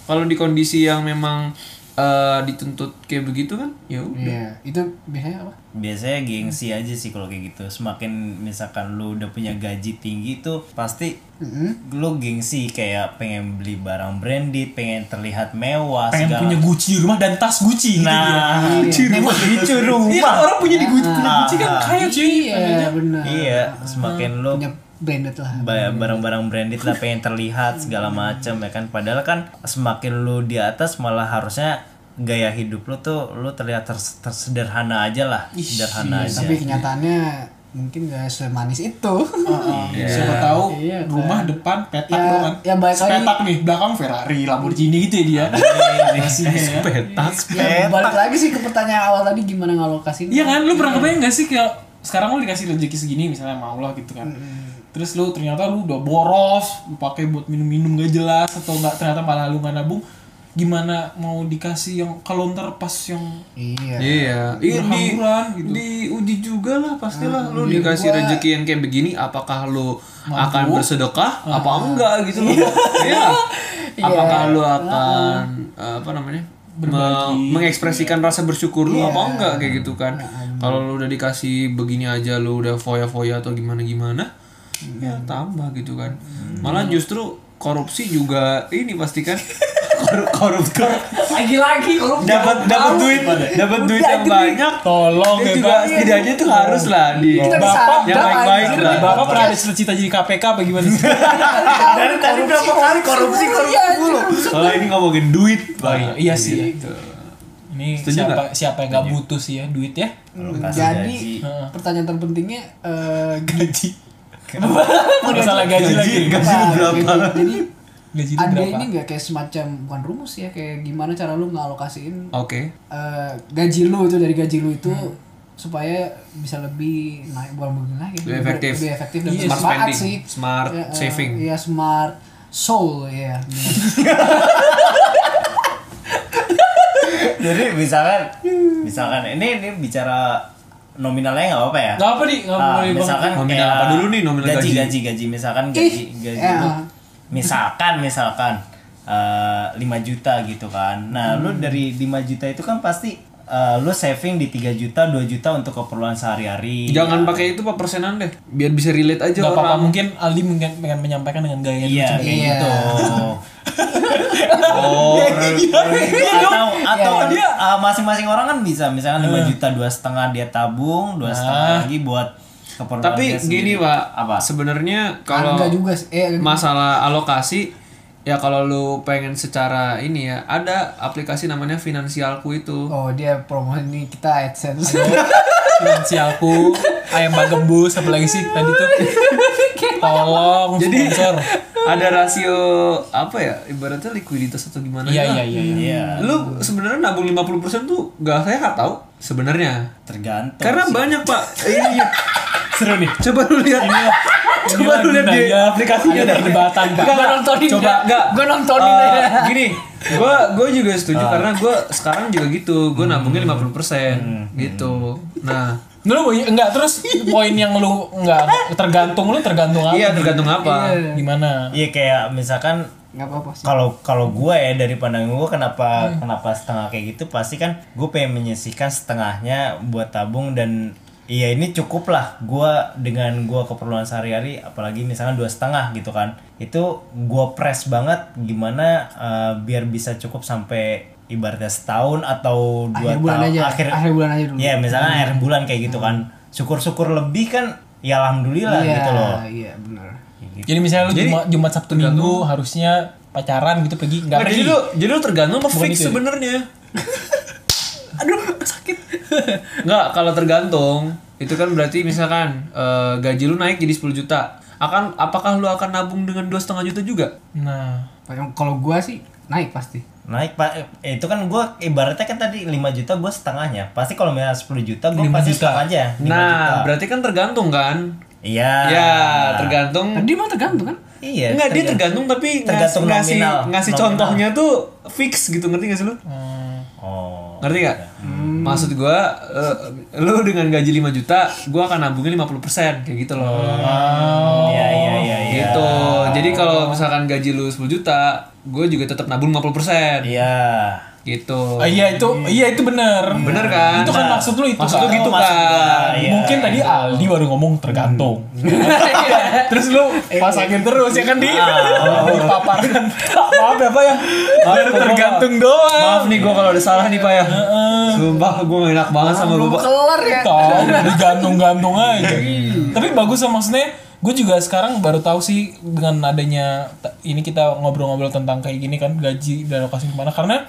S2: kalau di kondisi yang memang eh, dituntut kayak begitu kan ya udah
S4: iya itu biasanya apa
S3: biasanya gengsi aja sih kalau kayak gitu semakin misalkan lu udah punya gaji tinggi tuh pasti
S4: Mm-hmm.
S3: lu gengsi kayak pengen beli barang branded pengen terlihat mewah
S5: Pengen
S3: segala
S5: punya Gucci di rumah dan tas Gucci.
S3: nah
S5: rumah.
S3: lucu
S5: Iya
S3: rumah
S5: orang punya di Gucci, punya Gucci kan kaya cuy.
S4: iya benar
S3: iya semakin lu
S4: punya branded lah
S3: ba- barang-barang branded lah pengen terlihat
S4: Mm-hmm.
S3: segala macam ya kan padahal kan semakin lu di atas malah harusnya gaya hidup lu tuh lu terlihat ters- tersederhana aja lah sederhana aja
S4: iya, tapi kenyataannya mungkin gak semanis *laughs* itu
S5: Siapa tahu
S4: Iya, kan.
S5: rumah depan petak
S4: Ya,
S5: doang.
S4: ya, balik lagi.
S5: Petak nih belakang Ferrari, Lamborghini gitu ya dia. Masih ya.
S2: petak
S4: ya, balik lagi sih ke pertanyaan awal tadi gimana ngalokasin
S5: Iya kan, lu pernah kebayang gak sih kayak sekarang lu dikasih rezeki segini misalnya sama Allah gitu kan. Terus lu ternyata lu udah boros, lu pakai buat minum-minum gak jelas atau nggak ternyata malah lu nggak nabung. Gimana mau dikasih yang kalau ntar pas yang
S4: iya
S2: Iya, Ah, Ih, di,
S5: Berhamburan gitu.
S2: diuji juga lah pastilah lu dikasih rezeki yang kayak begini apakah lu akan bersedekah apa enggak gitu loh. *laughs* Iya. Nah. Apakah lu akan apa namanya? me- mengekspresikan rasa bersyukur lu apa enggak kayak gitu kan. Kalau lu udah dikasih begini aja lu udah foya-foya atau gimana-gimana ya tambah gitu kan. Malah justru korupsi juga ini kan. *laughs* pastikan koruptor
S4: lagi-lagi kalau
S2: dapat dapat duit dapat duit yang banyak
S5: tolong ya,
S2: dia juga setidaknya itu harus lah di
S4: disadap
S2: bapak yang baik-baik
S4: aja.
S2: lah
S5: Bapak pernah ada cita-cita jadi KPK apa gimana
S2: *laughs*
S5: sih?
S3: dari tadi berapa kali korupsi
S4: iya anjir.
S2: kalau ini ngomongin duit
S5: iya,
S2: banyak Gitu.
S5: iya sih. Ini
S2: Setuju
S5: siapa siapa yang nggak butuh sih ya duit ya?
S3: Alokasi
S4: jadi eh,
S3: gaji. *laughs*
S5: Heeh.
S4: pertanyaan terpentingnya
S2: *laughs*
S4: eh gaji
S5: Masalah gaji lagi.
S2: gaji lu berapa
S4: Jadi- jadi
S5: Gaji lu
S4: ada ini
S5: berapa?
S4: nggak kayak semacam bukan rumus ya kayak gimana cara lu ngalokasiin
S2: oke
S4: eh, gaji lu itu dari gaji lu itu
S2: Hmm.
S4: supaya bisa lebih naik bukan lebih naik ya,
S2: Lebih efektif. Iya,
S4: lebih efektif dan
S2: Smart
S4: bermanfaat
S2: spending,
S4: sih
S2: smart
S4: Ya, eh,
S2: saving.
S4: ya smart soul ya
S3: jadi misalkan misalkan ini ini bicara nominalnya nggak apa-apa ya
S5: Gak apa nih, nggak
S3: Ah,
S5: boleh banget.
S3: misalkan
S2: Nominal
S3: kayak
S2: apa dulu nih, nominal
S3: gaji
S2: gaji?
S3: gaji gaji misalkan gaji
S4: Ih,
S3: gaji
S4: ya.
S3: lu, misalkan misalkan eh, 5 juta gitu kan nah lu
S4: Hmm.
S3: dari 5 juta itu kan pasti eh, lu saving di 3 juta 2 juta untuk keperluan sehari-hari
S2: jangan pakai itu pak persenan deh biar bisa relate aja
S5: Gak Iya. apa-apa
S2: orang
S5: mungkin Aldi mungkin pengen menyampaikan dengan gaya yang
S3: iya
S5: lucu.
S3: kayak
S4: Iya.
S3: gitu
S2: oh
S3: *laughs* atau iya, atau
S4: Iya,
S3: uh, masing-masing orang kan bisa misalkan
S2: Hmm.
S3: 5 juta dua setengah dia tabung dua setengah lagi buat keperluan
S2: Ah. tapi
S5: Iya
S3: dia
S2: gini
S3: sendiri.
S2: pak
S3: apa
S2: sebenarnya kalau
S4: enggak juga sih eh
S2: masalah alokasi ya kalau lu pengen secara ini ya ada aplikasi namanya finansialku itu
S4: oh dia promosi ini kita adsense *laughs*
S5: finansialku ayam bagembus apalagi sih tadi tuh tolong
S2: Jadi-
S5: sponsor
S2: ada rasio apa ya ibaratnya likuiditas atau gimana
S5: Iya iya
S2: ya.
S5: iya. iya.
S3: Iya,
S2: Lu sebenarnya nabung 50% tuh gak sehat tau sebenarnya.
S3: tergantung.
S2: Karena
S3: sih.
S2: banyak, Pak. Iya, iya.
S5: Seru nih.
S2: Coba lu lihat. Coba lu lihat di aplikasinya
S5: ada
S2: dah.
S5: perdebatan Pak.
S2: Enggak, enggak.
S1: nontonin
S2: Coba
S1: dah.
S2: enggak.
S1: Gua nontonin
S2: Eh,
S1: dah.
S2: Gini, gua gua juga setuju karena gua sekarang juga gitu. Gua nabungnya 50% gitu. Nah,
S5: Lu bunyi- enggak terus poin yang lu enggak tergantung lu tergantung apa?
S2: iya tergantung apa.
S5: Gimana?
S3: Iya kayak misalkan
S4: nggak apa-apa sih
S3: kalau kalau gue ya dari pandangan gue kenapa
S4: Hmm.
S3: kenapa setengah kayak gitu pasti kan gue pengen menyisihkan setengahnya buat tabung dan Iya ini cukup lah gue dengan gue keperluan sehari-hari apalagi misalkan dua setengah gitu kan itu gue press banget gimana eh, biar bisa cukup sampai ibaratnya setahun atau dua
S4: akhir bulan
S3: tahun
S4: aja
S3: akhir
S4: akhir bulan aja dulu Hmm.
S3: ya misalkan akhir bulan kayak gitu kan syukur-syukur lebih kan ya alhamdulillah
S4: Iya,
S3: gitu loh
S4: iya benar
S5: Jadi misalnya lu Jumat, Jumat Sabtu Minggu harusnya pacaran gitu pergi enggak
S2: Nah,
S5: pergi.
S2: jadi lu jadi lu tergantung sama fix
S5: itu ya? *laughs*
S2: sebenarnya. *laughs* Aduh, sakit. Enggak, kalau tergantung itu kan berarti misalkan eh, gaji lu naik jadi 10 juta. Akan apakah lu akan nabung dengan dua setengah juta juga?
S5: Nah,
S4: Padahal kalau gua sih naik pasti
S3: naik pak eh, itu kan gue ibaratnya kan tadi 5 juta gue setengahnya pasti kalau misalnya 10 juta
S5: 5
S3: gue pasti
S5: juta.
S3: setengah aja 5 juta
S2: Nah, berarti kan tergantung kan?
S3: iya
S2: Ya, tergantung.
S4: tadi mah tergantung kan
S3: iya
S2: Enggak, dia tergantung tapi
S3: tergantung
S2: ngasih
S3: nominal.
S2: ngasih
S3: Nominal.
S2: contohnya tuh fix gitu, ngerti gak sih lu?
S3: oh
S2: Ngerti gak?
S5: Hmm.
S2: Maksud gua eh, lu dengan gaji 5 juta, gua akan nabungin 50% kayak gitu loh.
S3: iya iya iya iya
S2: gitu jadi kalau misalkan gaji lu 10 juta gue juga tetap nabung 50 persen
S3: iya
S2: gitu
S5: ah, iya itu iya itu bener.
S2: bener kan
S5: Itu kan maksud lu itu.
S2: maksud lu
S5: kan?
S2: gitu
S3: maksud
S2: kan
S3: gua, iya.
S5: Mungkin tadi Aldi baru ngomong tergantung.
S2: Iya.
S5: *laughs* terus lu pasangin terus ya kan *laughs* di dipaparkan.
S2: Ah. maaf ya pak ya
S5: Biar tergantung doang.
S2: maaf nih gue kalau ada salah nih pak ya sumpah gue gak enak banget sama gue pak
S4: kelar ya
S5: Tahu digantung-gantung aja. Tapi bagus lah maksudnya. Gue juga sekarang baru tahu sih dengan adanya t- ini kita ngobrol-ngobrol tentang kayak gini kan gaji dan lokasi kemana karena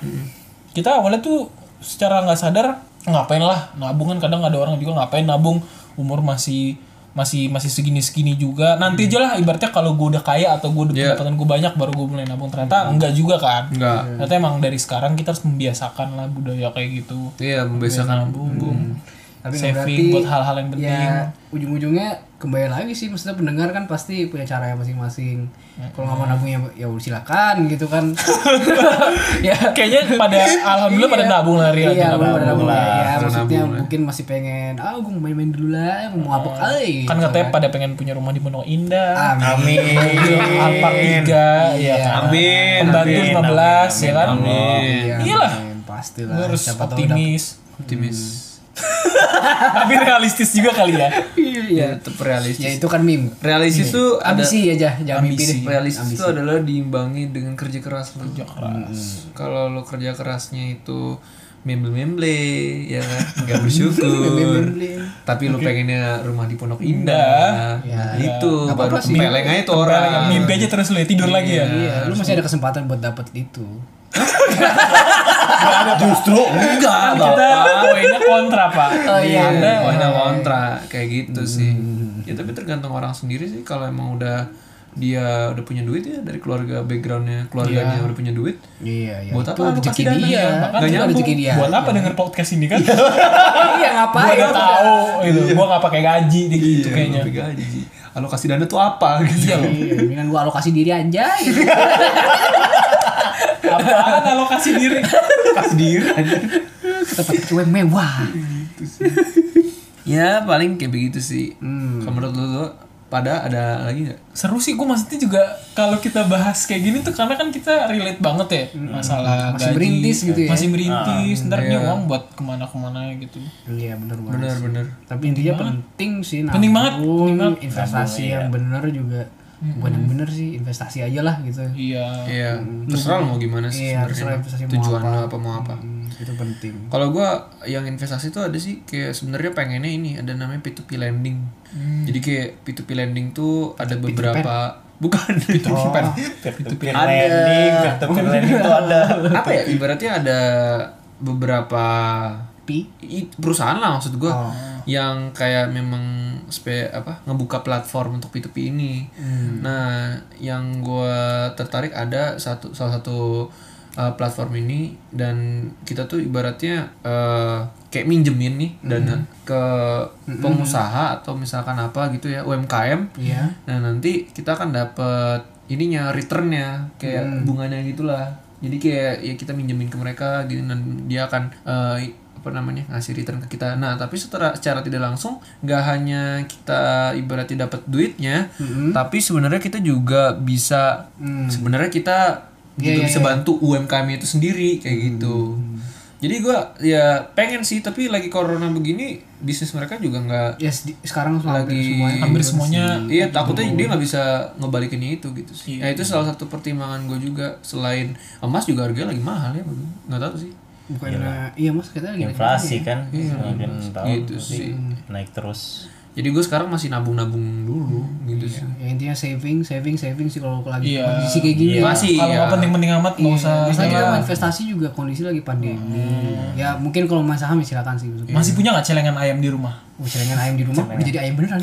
S5: kita awalnya tuh secara nggak sadar ngapain lah nabung kan kadang ada orang juga ngapain nabung umur masih masih masih segini segini juga nanti aja lah ibaratnya kalau gue udah kaya atau gue udah
S2: Yeah.
S5: pendapatan gue banyak baru gue mulai nabung ternyata enggak juga kan
S2: Enggak.
S5: ternyata emang dari sekarang kita harus membiasakan lah budaya kayak gitu
S2: iya membiasakan nabung
S4: tapi nggak
S5: saving buat hal-hal yang penting
S4: *laughs* ya ujung-ujungnya kembali lagi sih maksudnya pendengar kan pasti punya caranya masing-masing kalau nggak mau nabung ya ya silakan gitu kan
S5: *laughs*
S4: ya
S5: kayaknya pada alhamdulillah pada nabung lah Rian
S4: iya
S5: Pada
S4: nabung pada nabung
S3: lah,
S4: ya, ya
S2: pada
S4: maksudnya
S2: nabung lah.
S4: mungkin masih pengen ah gue mau main-main dulu lah mau mabok kali
S5: kan katanya pada pengen punya rumah di Pondok Indah
S4: amin
S3: amin
S5: Alpak tiga ya kan
S2: amin
S5: pembantu
S2: amin.
S5: 15 ya kan
S2: amin
S5: iyalah
S4: Iya, Amin, pastilah
S5: Iya Lu harus
S4: siapa tahu dapat
S5: optimis
S2: optimis
S5: tapi realistis juga kali ya
S2: iya tetap
S4: ya
S2: realistis
S4: itu kan mimpi
S2: realistis tuh ada
S4: ambisi aja jangan mimpi deh
S2: realistis itu adalah diimbangi dengan kerja keras lo. Kalau lo kerja kerasnya itu memble-memble ya
S4: *laughs*
S2: kan nggak bersyukur tapi lo pengennya rumah di
S4: Iya.
S2: Pondok Indah itu baru tempeleng aja tuh orang
S5: mimpi aja terus lu ya, tidur lagi ya
S4: Iya, lu masih ada kesempatan buat dapet
S5: *laughs*
S4: itu.
S2: justru Oh,
S5: Kan
S2: enggak
S5: kita
S2: bapak
S5: *laughs* mainnya kontra pak
S2: iya ada ada kontra kayak gitu sih ya tapi tergantung orang sendiri sih kalau emang udah dia udah punya duit ya dari keluarga backgroundnya keluarganya udah punya duit
S4: Iya, iya.
S2: buat
S4: Itu
S2: apa lo
S4: rezeki
S2: kasih dana ya?
S4: dia.
S5: Bahkan
S2: Nggak
S5: itu
S2: nyambung.
S4: rezeki dia.
S5: buat apa denger podcast ini kan
S4: Iya,
S5: gua
S4: ngapain?
S5: udah tahu gitu gua nggak pakai gaji dia gitu kayaknya
S2: Lebih gaji. Alokasi dana tuh apa *laughs* gitu.
S4: Iya, mendingan gua alokasi diri aja.
S5: apaan alokasi diri
S2: Alokasi diri.
S4: Ke tempat cewek mewah.
S2: ya paling kayak begitu sih. Kalau menurut lu lu, pada ada lagi nggak?
S5: seru sih gue maksudnya juga kalau kita bahas kayak gini tuh karena kan kita relate banget ya masalah
S4: Masih
S5: gaji,
S4: merintis gitu ya.
S5: masih merintis ntar nih uang buat kemana-kemana gitu
S4: Iya, bener banget.
S2: Bener bener.
S4: Tapi intinya penting sih nabung,
S5: Penting banget, penting banget.
S4: investasi yang bener juga. Bukan yang bener sih, investasi aja lah gitu.
S5: iya
S2: Iya. Terserah lu mau gimana sih
S4: Iya, terserah
S2: sebenarnya.
S4: investasi mau
S2: Tujuan lu apa mau apa.
S4: Hmm, itu penting.
S2: Kalau gua yang investasi tuh ada sih kayak sebenarnya pengennya ini ada namanya P2P lending. Jadi kayak P2P lending tuh ada beberapa bukan *laughs* P2P
S3: peer-to-peer lending peer-to-peer lending itu ada
S2: apa ya ibaratnya ada beberapa
S4: Pi.
S2: i- perusahaan lah maksud gua yang kayak memang spe apa ngebuka platform untuk P2P ini. Nah, yang gua tertarik ada satu salah satu uh, platform ini dan kita tuh ibaratnya uh, kayak minjemin nih dana ke pengusaha atau misalkan apa gitu ya UMKM.
S4: Iya.
S2: Nah, nanti kita akan dapat ininya returnnya kayak bunganya gitulah. Jadi kayak ya kita minjemin ke mereka gitu dan dia akan eh, apa namanya ngasih return ke kita. Nah, tapi secara secara tidak langsung nggak hanya kita ibaratnya dapat duitnya, tapi sebenarnya kita juga bisa sebenarnya kita juga bisa bantu UMKM itu sendiri kayak gitu. Jadi gua ya pengen sih tapi lagi corona begini bisnis mereka juga nggak
S4: Ya sedi- sekarang hampir
S2: Lagi-
S4: semuanya.
S5: hampir semuanya
S2: Iya takutnya dia nggak bisa ngebalikinnya itu gitu sih. Nah itu salah satu pertimbangan gue juga selain emas juga harganya lagi mahal ya bagaimana? nggak tahu sih.
S4: Bukan iya mas kita lagi
S3: Inflasi kan semakin tahun
S2: Iya, Gitu
S3: pasti
S2: sih.
S3: naik terus.
S2: Jadi gue sekarang masih nabung-nabung dulu gitu sih.
S4: Ya, intinya saving, saving, saving sih kalau lagi
S5: Iya.
S4: kondisi kayak gini. ya.
S2: Masih
S5: kalau
S2: ya.
S5: nggak penting-penting amat
S4: Iya,
S5: nggak usah
S4: Misalnya kita
S5: jangan.
S4: mau investasi juga kondisi lagi pandemi. Ya mungkin kalau main saham ya silakan sih. maksudnya.
S5: masih punya nggak celengan ayam di rumah
S4: Oh, celengan ayam di rumah udah jadi ayam beneran.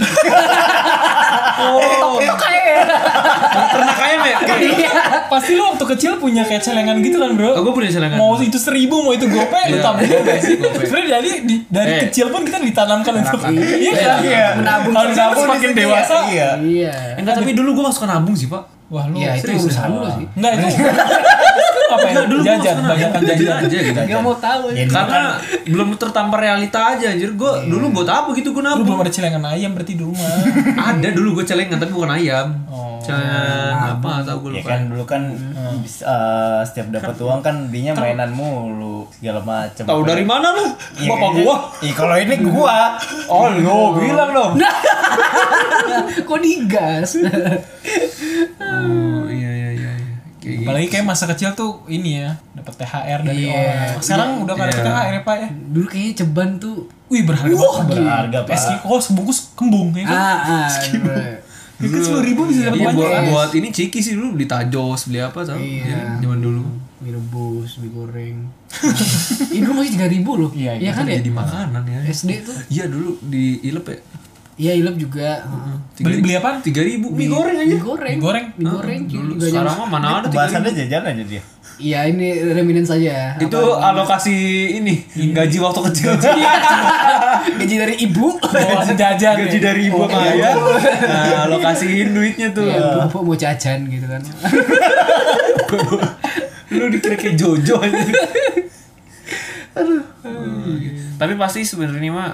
S5: *laughs*
S2: Ternak ayam ya.
S5: Iya. pasti lo waktu kecil punya kayak celengan gitu kan bro
S2: Gue Oh, punya celengan.
S5: mau itu seribu mau itu gope lo tabung gope sih
S2: gope.
S5: sebenarnya dari di- dari
S2: Eh.
S5: kecil pun kita ditanamkan untuk *laughs* iya
S2: Iya.
S5: kan
S3: Iya.
S5: menabung menabung makin dewasa
S3: Iya.
S4: Iya.
S2: Enggak tapi dulu gue masuk nabung sih pak.
S5: wah lu
S4: Iya itu
S2: serius,
S4: urusan lu sih.
S5: Enggak *laughs* itu itu ngapain?
S2: dulu gua
S5: jajan,
S2: nggak
S5: banyak
S2: pernah.
S5: jajan.
S2: aja gitu.
S4: Gak mau tahu.
S3: Jadi kan
S2: Karena belum tertampar realita aja anjir gue dulu buat apa gitu gue
S5: Lu
S2: *laughs* nabung.
S5: belum ada celengan ayam berarti di rumah.
S2: Ada dulu gue celengan tapi bukan ayam.
S5: Oh.
S2: Celengan apa tau gue
S3: Ya
S2: lupa.
S3: kan dulu kan bis- eh, setiap dapat uang kan dinya mainan mulu segala macem.
S2: Tahu dari mana lu?
S3: Iya,
S2: Bapak
S3: iya.
S2: gua. iya,
S3: Iya kalau ini
S2: *laughs*
S3: gua. Oh lu bilang dong.
S4: *laughs* Kok digas?
S2: Oh, iya iya iya. iya. Kayak gitu.
S5: Apalagi kayak masa kecil tuh ini ya, dapat THR dari
S4: Iya.
S5: orang. Sekarang udah gak ada
S2: Iya.
S5: THR ya, Pak ya.
S4: *laughs* Dulu kayaknya ceban tuh.
S5: Wih, berharga banget.
S3: Berharga
S5: Es
S3: pak.
S5: kiko sebungkus kembung ya kan.
S4: Ah, *laughs* ah.
S5: Itu 10 Kan ribu bisa dapat
S2: Iya, buat,
S5: banyak.
S2: buat ini ciki sih dulu beli tajos, beli apa tau?
S4: Iya.
S2: Iya, zaman dulu.
S4: Mie rebus, mie *laughs* goreng. Ini dulu masih 3000 loh.
S5: Iya,
S4: Iya
S5: iya.
S4: kan ya?
S2: Jadi makanan ya.
S4: SD tuh.
S2: Iya dulu di Ilep ya.
S4: Iya, Ilep juga. Heeh.
S5: Beli beli apa?
S2: Tiga ribu mie goreng aja.
S4: Mie goreng.
S5: Mie goreng.
S4: Mie goreng
S2: Dulu
S4: juga
S2: sekarang
S4: jam-
S2: mah mana ada tiga
S3: Bahasannya jajan aja dia.
S4: Iya, ini reminiscence saja.
S2: Itu alokasi ini
S5: Iya.
S2: gaji waktu kecil.
S4: gaji dari *laughs* ibu.
S5: Bawa sejajan.
S2: *laughs* gaji dari ibu sama ayah. Nah, alokasiin duitnya tuh.
S4: Iya,
S2: *laughs*
S4: Ibu mau jajan gitu kan.
S2: lu dikira kayak Jojo aja. Hmm, gitu. Tapi pasti sebenarnya mah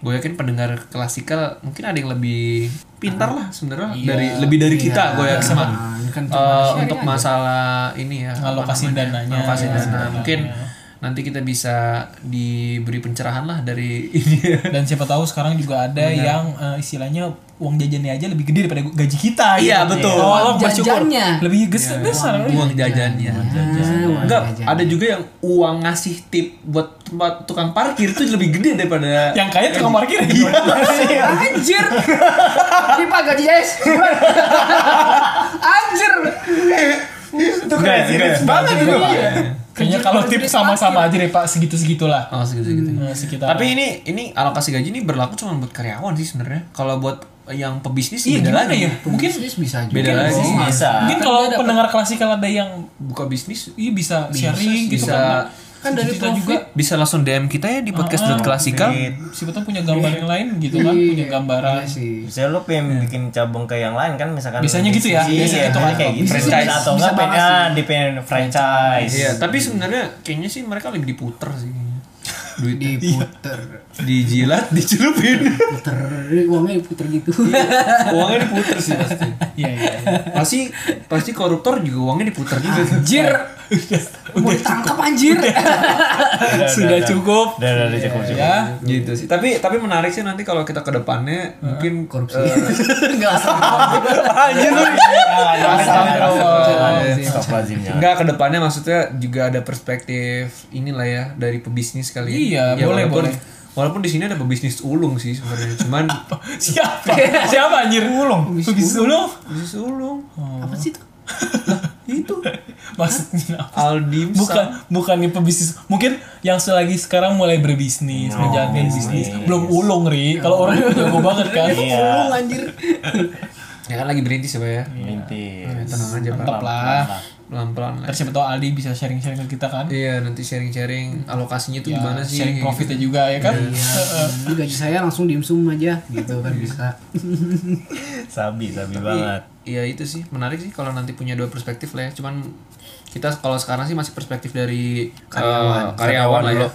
S2: gue yakin pendengar klasikal mungkin ada yang lebih pintar lah sebenarnya dari lebih dari kita gue yakin mah.
S4: Iya. kan
S2: Eh, Iya. untuk masalah ini ya
S5: Ngalokasiin dananya.
S2: alokasi
S5: Iya,
S2: dana
S5: iya.
S2: mungkin nanti kita bisa diberi pencerahan lah dari *laughs* ini
S5: Dan siapa tahu sekarang juga ada yang eh, istilahnya uang jajannya aja lebih gede daripada gaji kita.
S2: Iya,
S5: gitu.
S2: betul. Iya,
S5: Tolong bersyukur.
S4: Jajannya.
S5: Lebih gede besar.
S2: uang jajannya.
S4: uang
S2: Enggak,
S4: jajan.
S2: ada juga yang uang ngasih tip buat tempat tukang parkir itu lebih gede daripada
S5: Yang kaya tukang parkir. Iya. *laughs*
S4: Anjir. Ini Pak gaji guys. Anjir.
S3: Itu kayak serius banget itu.
S4: Iya.
S3: Pak.
S5: Kayaknya kalau tip sama-sama aja deh Pak, segitu-segitulah.
S2: Oh, segitu-segitu.
S5: Nah, sekitar.
S2: Tapi ini ini alokasi gaji ini berlaku cuma buat karyawan sih sebenarnya. Kalau buat yang pebisnis
S5: iya
S2: beda
S5: gimana
S2: lagi.
S5: ya? Mungkin
S4: Bisnis bisa juga.
S2: Beda lagi.
S3: Bisa.
S5: mungkin kalau pendengar klasikal ada yang
S2: Buka bisnis
S5: iya bisa, sharing gitu karena
S2: bisa-
S4: Kan dari
S5: kita juga
S2: bisa langsung DM kita ya di podcast
S5: Ah,
S2: klasikal.
S5: siapa tahu punya gambar yang lain gitu kan, punya gambaran.
S4: Iya sih.
S3: Bisa lo pengen bikin cabang ke yang lain kan misalkan
S5: Biasanya gitu ya,
S3: Iya,
S5: biasanya gitu kan.
S3: kayak gitu
S2: Bisa-
S3: franchise
S2: bisa-
S3: atau enggak pengen ah, di pengen franchise.
S2: Iya, tapi sebenarnya kayaknya sih mereka lebih diputer sih. kayaknya. Duit Iya.
S4: Diputer.
S2: dijilat, *laughs* dicelupin.
S4: Puter. Uangnya diputer gitu.
S2: Iya. Uangnya diputer sih pasti.
S5: Iya iya. iya.
S2: Pasti pasti koruptor juga uangnya diputer juga. Iya. tuh.
S4: Anjir. Mau ditangkap anjir.
S5: Sudah cukup.
S3: Udah, udah, udah, cukup, cukup.
S5: Ya.
S2: gitu sih. Tapi tapi menarik sih nanti kalau kita ke depannya mungkin
S4: Korupsi.
S2: eh,
S4: Enggak
S2: *laughs*
S3: Ah, jangan,
S2: Iya.
S3: jangan, jangan.
S2: Astagfirullahaladzim.
S3: Astagfirullahaladzim,
S5: Ya.
S3: jangan.
S2: Enggak, kedepannya maksudnya juga ada perspektif inilah ya dari pebisnis kali. ya.
S5: Iya,
S2: Ya,
S5: boleh,
S2: walaupun,
S5: boleh.
S2: Walaupun di sini ada pebisnis ulung sih sebenarnya,
S5: *laughs*
S2: cuman
S5: Siapa? Siapa anjir? Ulung. Bisa ulung.
S2: bisnis ulung.
S4: Apa sih itu?
S2: Iya, itu
S5: *laughs* maksudnya apa?
S2: Aldim
S5: bukan bukan nih pebisnis mungkin yang selagi sekarang mulai berbisnis menjalankan bisnis belum ulung ri kalau orang itu jago banget kan
S4: Ulung anjir.
S2: ya kan lagi berintis ya pak ya
S3: Inti.
S2: tenang aja pak
S5: tetap lah
S2: pelan pelan lah
S5: Ntar siapa tahu Aldi bisa sharing-sharing ke kita kan
S2: iya nanti sharing sharing alokasinya tuh gimana
S5: Iya,
S2: sih Gitu. Iya.
S5: sharing profitnya juga ya kan
S4: Ini gaji saya langsung dimsum aja gitu kan bisa.
S3: Sabi, sabi banget.
S2: Iya itu sih menarik sih kalau nanti punya dua perspektif lah ya. Cuman kita kalau sekarang sih masih perspektif dari eh, karyawan, karyawan lah ya.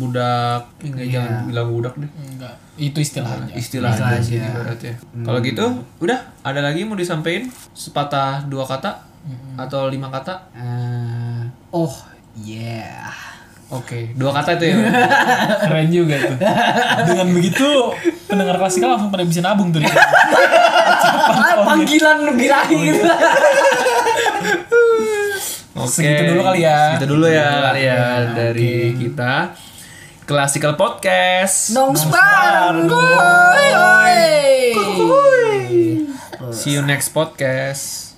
S2: Budak,
S5: Iya.
S2: enggak jangan bilang budak deh.
S5: enggak itu istilahnya Hmm.
S2: Istilah,
S4: Istilah
S2: aja sih
S4: aja.
S2: ibaratnya. Kalau gitu, udah ada lagi mau disampaikan sepatah dua kata
S5: Hmm.
S2: atau lima kata?
S4: Eh, oh yeah.
S2: *laughs* Oke, dua kata
S5: *laughs*
S2: itu ya.
S5: keren juga tuh dengan begitu pendengar klasikal langsung pada bisa nabung tuh Ri.
S4: Ah, panggilan
S2: Oh,
S4: lebih
S2: iya.
S4: lahir.
S2: Oke.
S5: Segitu dulu kali ya.
S2: Segitu dulu ya kali ya dari kita Classical Podcast.
S4: Nong sebarang gue.
S2: See you next podcast.